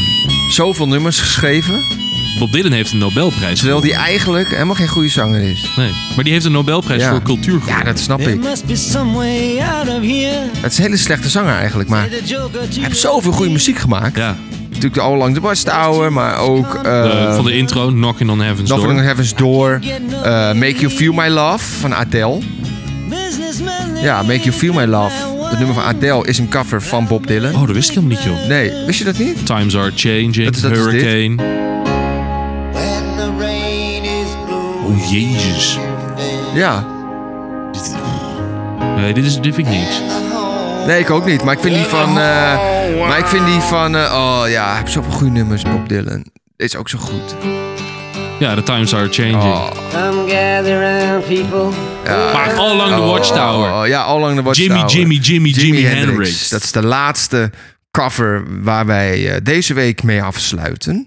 Speaker 2: zoveel nummers geschreven.
Speaker 1: Bob Dylan heeft een Nobelprijs.
Speaker 2: Terwijl die eigenlijk helemaal geen goede zanger is.
Speaker 1: Nee. Maar die heeft een Nobelprijs
Speaker 2: Ja.
Speaker 1: voor cultuur
Speaker 2: Ja,
Speaker 1: gewonnen.
Speaker 2: dat snap
Speaker 4: There
Speaker 2: ik.
Speaker 4: must be some way out of here.
Speaker 2: Het is een hele slechte zanger eigenlijk,
Speaker 1: Ah.
Speaker 2: maar hij
Speaker 4: The Joker to
Speaker 2: heeft zoveel goede muziek gemaakt.
Speaker 1: Ja.
Speaker 2: Natuurlijk de Allang de Watchtower, maar ook eh
Speaker 1: Eh, van de intro, Knocking on Heaven's
Speaker 2: Nothing
Speaker 1: Door.
Speaker 2: in Heaven's Door, eh, Make You Feel My Love van Adele.
Speaker 4: businessman.
Speaker 2: Ja, Make You Feel My Love, het nummer van Adele, is een cover van Bob Dylan.
Speaker 1: Oh, dat wist ik helemaal niet, joh.
Speaker 2: Nee, wist je dat niet?
Speaker 1: Times are changing,
Speaker 2: Dat is- dat is dit.
Speaker 1: Hurricane.
Speaker 4: When the rain is blue.
Speaker 1: Oh, jezus.
Speaker 2: Ja.
Speaker 1: Nee, dit, is, dit vind ik niks.
Speaker 2: Nee, ik ook niet. Maar ik vind die van... eh, maar ik vind die van... eh, oh ja, hij heeft zoveel goede nummers, Bob Dylan. Is ook zo goed.
Speaker 1: Ja, de Times are changing.
Speaker 2: Oh,
Speaker 3: Come gather round, people.
Speaker 1: Maar All Along the
Speaker 2: oh,
Speaker 1: Watchtower.
Speaker 2: oh, ja, All Along the
Speaker 1: Jimmy,
Speaker 2: Watchtower.
Speaker 1: Jimmy, Jimmy, Jimi Hendrix.
Speaker 2: Dat is de laatste cover waar wij eh, deze week mee afsluiten.
Speaker 1: Eh,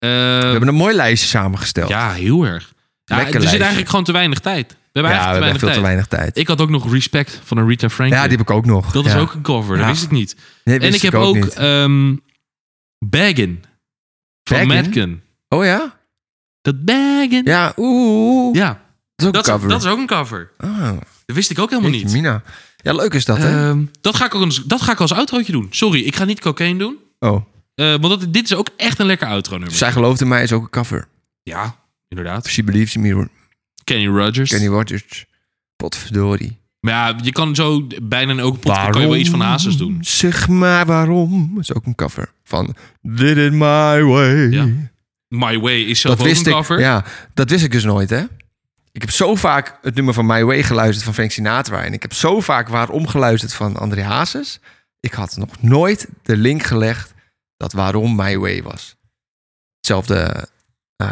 Speaker 2: We hebben een mooi lijstje samengesteld.
Speaker 1: ja, heel erg. Ja,
Speaker 2: Lekker
Speaker 1: er zit
Speaker 2: lijstje.
Speaker 1: eigenlijk gewoon te weinig tijd. We hebben
Speaker 2: Ja, we
Speaker 1: eigenlijk
Speaker 2: hebben
Speaker 1: te
Speaker 2: veel te
Speaker 1: weinig tijd.
Speaker 2: weinig tijd.
Speaker 1: Ik had ook nog Respect van een Rita Franklin.
Speaker 2: Ja, die heb ik ook nog.
Speaker 1: Dat
Speaker 2: ja.
Speaker 1: is ook een cover, dat
Speaker 2: Ja.
Speaker 1: wist ik niet.
Speaker 2: Nee, wist
Speaker 1: en ik, heb ook,
Speaker 2: niet.
Speaker 1: ehm Baggin van
Speaker 2: Baggin?
Speaker 1: Madkin.
Speaker 2: oh ja?
Speaker 1: Dat Baggin. Ja,
Speaker 2: Ja, oeh. dat is ook
Speaker 1: dat,
Speaker 2: een
Speaker 1: is,
Speaker 2: cover.
Speaker 1: dat is ook een cover.
Speaker 2: Oh,
Speaker 1: Dat wist ik ook helemaal
Speaker 2: jeetje,
Speaker 1: niet.
Speaker 2: Mina. Ja, leuk is dat, hè?
Speaker 1: Ehm, dat, ga ik ook als, dat ga ik als outrootje doen. Sorry, ik ga niet cocaine doen.
Speaker 2: oh,
Speaker 1: Eh, want dat, dit is ook echt een lekker outro nummer.
Speaker 2: Zij gelooft in mij is ook een cover.
Speaker 1: Ja, inderdaad.
Speaker 2: She believes in me,
Speaker 1: Kenny Rogers.
Speaker 2: Kenny Rogers. dus- Potverdorie.
Speaker 1: Maar ja, je kan zo bijna in elke podcast kan je wel iets van Hazes doen.
Speaker 2: Zeg maar waarom. Is ook een cover. Van Did It My Way.
Speaker 1: Ja. My Way is zelf
Speaker 2: Dat
Speaker 1: ook een
Speaker 2: wist, ik,
Speaker 1: cover.
Speaker 2: ja, dat wist ik dus nooit, hè? Ik heb zo vaak het nummer van My Way geluisterd van Frank Sinatra. En ik heb zo vaak Waarom geluisterd van André Hazes. Ik had nog nooit de link gelegd dat Waarom My Way was. Hetzelfde... eh,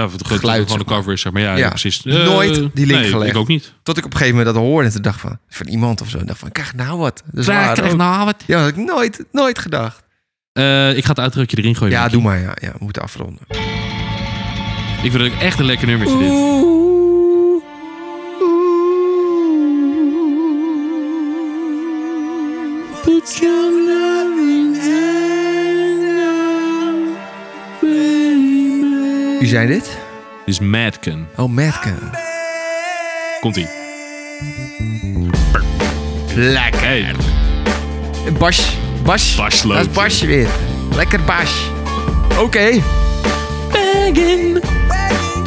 Speaker 1: Nou, het grote
Speaker 2: Geluid,
Speaker 1: van de
Speaker 2: zeg maar.
Speaker 1: cover is zeg maar. Ja,
Speaker 2: Ja.
Speaker 1: ja, precies.
Speaker 2: Nooit
Speaker 1: Eh,
Speaker 2: die link
Speaker 1: nee,
Speaker 2: gelegd.
Speaker 1: ik ook niet.
Speaker 2: tot ik op een gegeven moment dat hoorde en toen dacht van... Van iemand of zo. En dacht van, krijg nou wat. Dus waarom?
Speaker 1: nou wat.
Speaker 2: Ja, dat had ik nooit, nooit gedacht.
Speaker 1: Eh, ik ga het uitdrukje erin gooien.
Speaker 2: Ja,
Speaker 1: Mickey.
Speaker 2: doe maar. Ja, ja, we moeten afronden.
Speaker 1: Ik vind het ook echt een lekker nummertje dit.
Speaker 2: Oeh,
Speaker 1: Put your loving hand on me.
Speaker 2: Wie zijn dit?
Speaker 1: Dit is Madken.
Speaker 2: Oh, Madken.
Speaker 1: Komt-ie.
Speaker 2: Lekker.
Speaker 1: Hey,
Speaker 2: Bas. Bas.
Speaker 1: Bas
Speaker 2: Dat is
Speaker 1: Loten.
Speaker 2: Basje weer. Lekker Bas. Oké.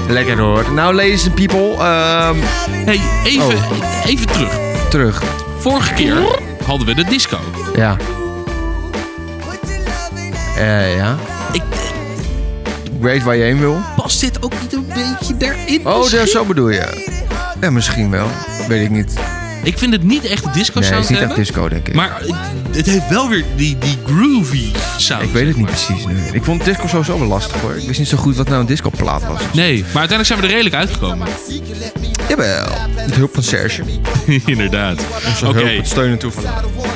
Speaker 2: Lekker hoor. Nou, ladies and people. ehm,
Speaker 1: hey even,
Speaker 2: Oh.
Speaker 1: even terug.
Speaker 2: terug.
Speaker 1: Vorige keer hadden we de disco.
Speaker 2: Ja. Eh, ja.
Speaker 1: Ik,
Speaker 2: Ik weet waar je heen wil.
Speaker 1: past dit ook niet een beetje daarin?
Speaker 2: Oh,
Speaker 1: misschien?
Speaker 2: dat, zo bedoel je. Ja, misschien wel. Weet ik niet.
Speaker 1: Ik vind het niet echt een disco
Speaker 2: Nee, het
Speaker 1: sound
Speaker 2: is niet echt
Speaker 1: hebben.
Speaker 2: disco, denk ik.
Speaker 1: Maar het- het heeft wel weer die, die groovy sound.
Speaker 2: ik weet het
Speaker 1: zeg
Speaker 2: niet
Speaker 1: maar.
Speaker 2: precies nu. Ik vond disco sowieso wel lastig hoor. Ik wist niet zo goed wat nou een discoplaat was.
Speaker 1: Nee, maar uiteindelijk zijn we er redelijk uitgekomen.
Speaker 2: Jawel. Met hulp van Serge.
Speaker 1: Inderdaad. Oké,
Speaker 2: steunen toe van.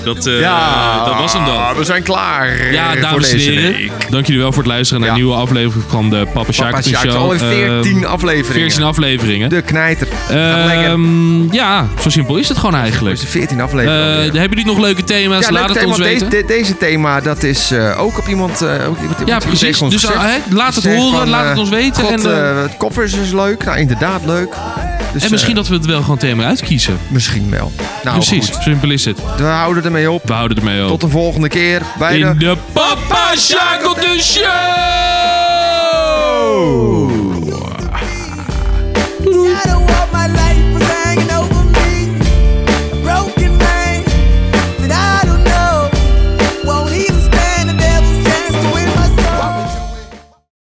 Speaker 1: dat, eh, dat was hem dan.
Speaker 2: Ah, We zijn klaar.
Speaker 1: Ja,
Speaker 2: eh,
Speaker 1: dames
Speaker 2: voor
Speaker 1: en
Speaker 2: deze
Speaker 1: heren.
Speaker 2: week.
Speaker 1: Dank jullie wel voor het luisteren naar
Speaker 2: Ja.
Speaker 1: een nieuwe aflevering van de Papa
Speaker 2: Papa
Speaker 1: Sjaak Show.
Speaker 2: Sjaak, alweer 14
Speaker 1: Ehm,
Speaker 2: afleveringen.
Speaker 1: 14 afleveringen.
Speaker 2: De knijter. Gaat lekker.
Speaker 1: Ehm, ja, zo simpel is het gewoon
Speaker 2: Er
Speaker 1: eigenlijk.
Speaker 2: is 14
Speaker 1: Eh,
Speaker 2: afleveringen. alweer.
Speaker 1: hebben jullie nog leuke thema's?
Speaker 2: ja,
Speaker 1: Laat
Speaker 2: leuk
Speaker 1: het ons
Speaker 2: thema.
Speaker 1: weten.
Speaker 2: Deze, de- deze thema, dat is eh, ook op iemand... eh, ook iemand
Speaker 1: ja,
Speaker 2: iemand
Speaker 1: precies.
Speaker 2: tegen ons
Speaker 1: Dus
Speaker 2: gezegd.
Speaker 1: eh, hè, laat het
Speaker 2: Zegt
Speaker 1: horen,
Speaker 2: van,
Speaker 1: laat
Speaker 2: eh,
Speaker 1: het ons weten.
Speaker 2: God,
Speaker 1: en, eh,
Speaker 2: eh, het koffers is leuk. Nou, inderdaad leuk. Dus,
Speaker 1: en misschien
Speaker 2: eh,
Speaker 1: dat we het wel gewoon thema uitkiezen.
Speaker 2: misschien wel. Nou,
Speaker 1: precies,
Speaker 2: goed.
Speaker 1: simpel is het.
Speaker 2: We houden ermee op.
Speaker 1: We houden ermee
Speaker 2: Tot
Speaker 1: op.
Speaker 2: de volgende keer bij de...
Speaker 1: In de Papa Sjaak op de Show!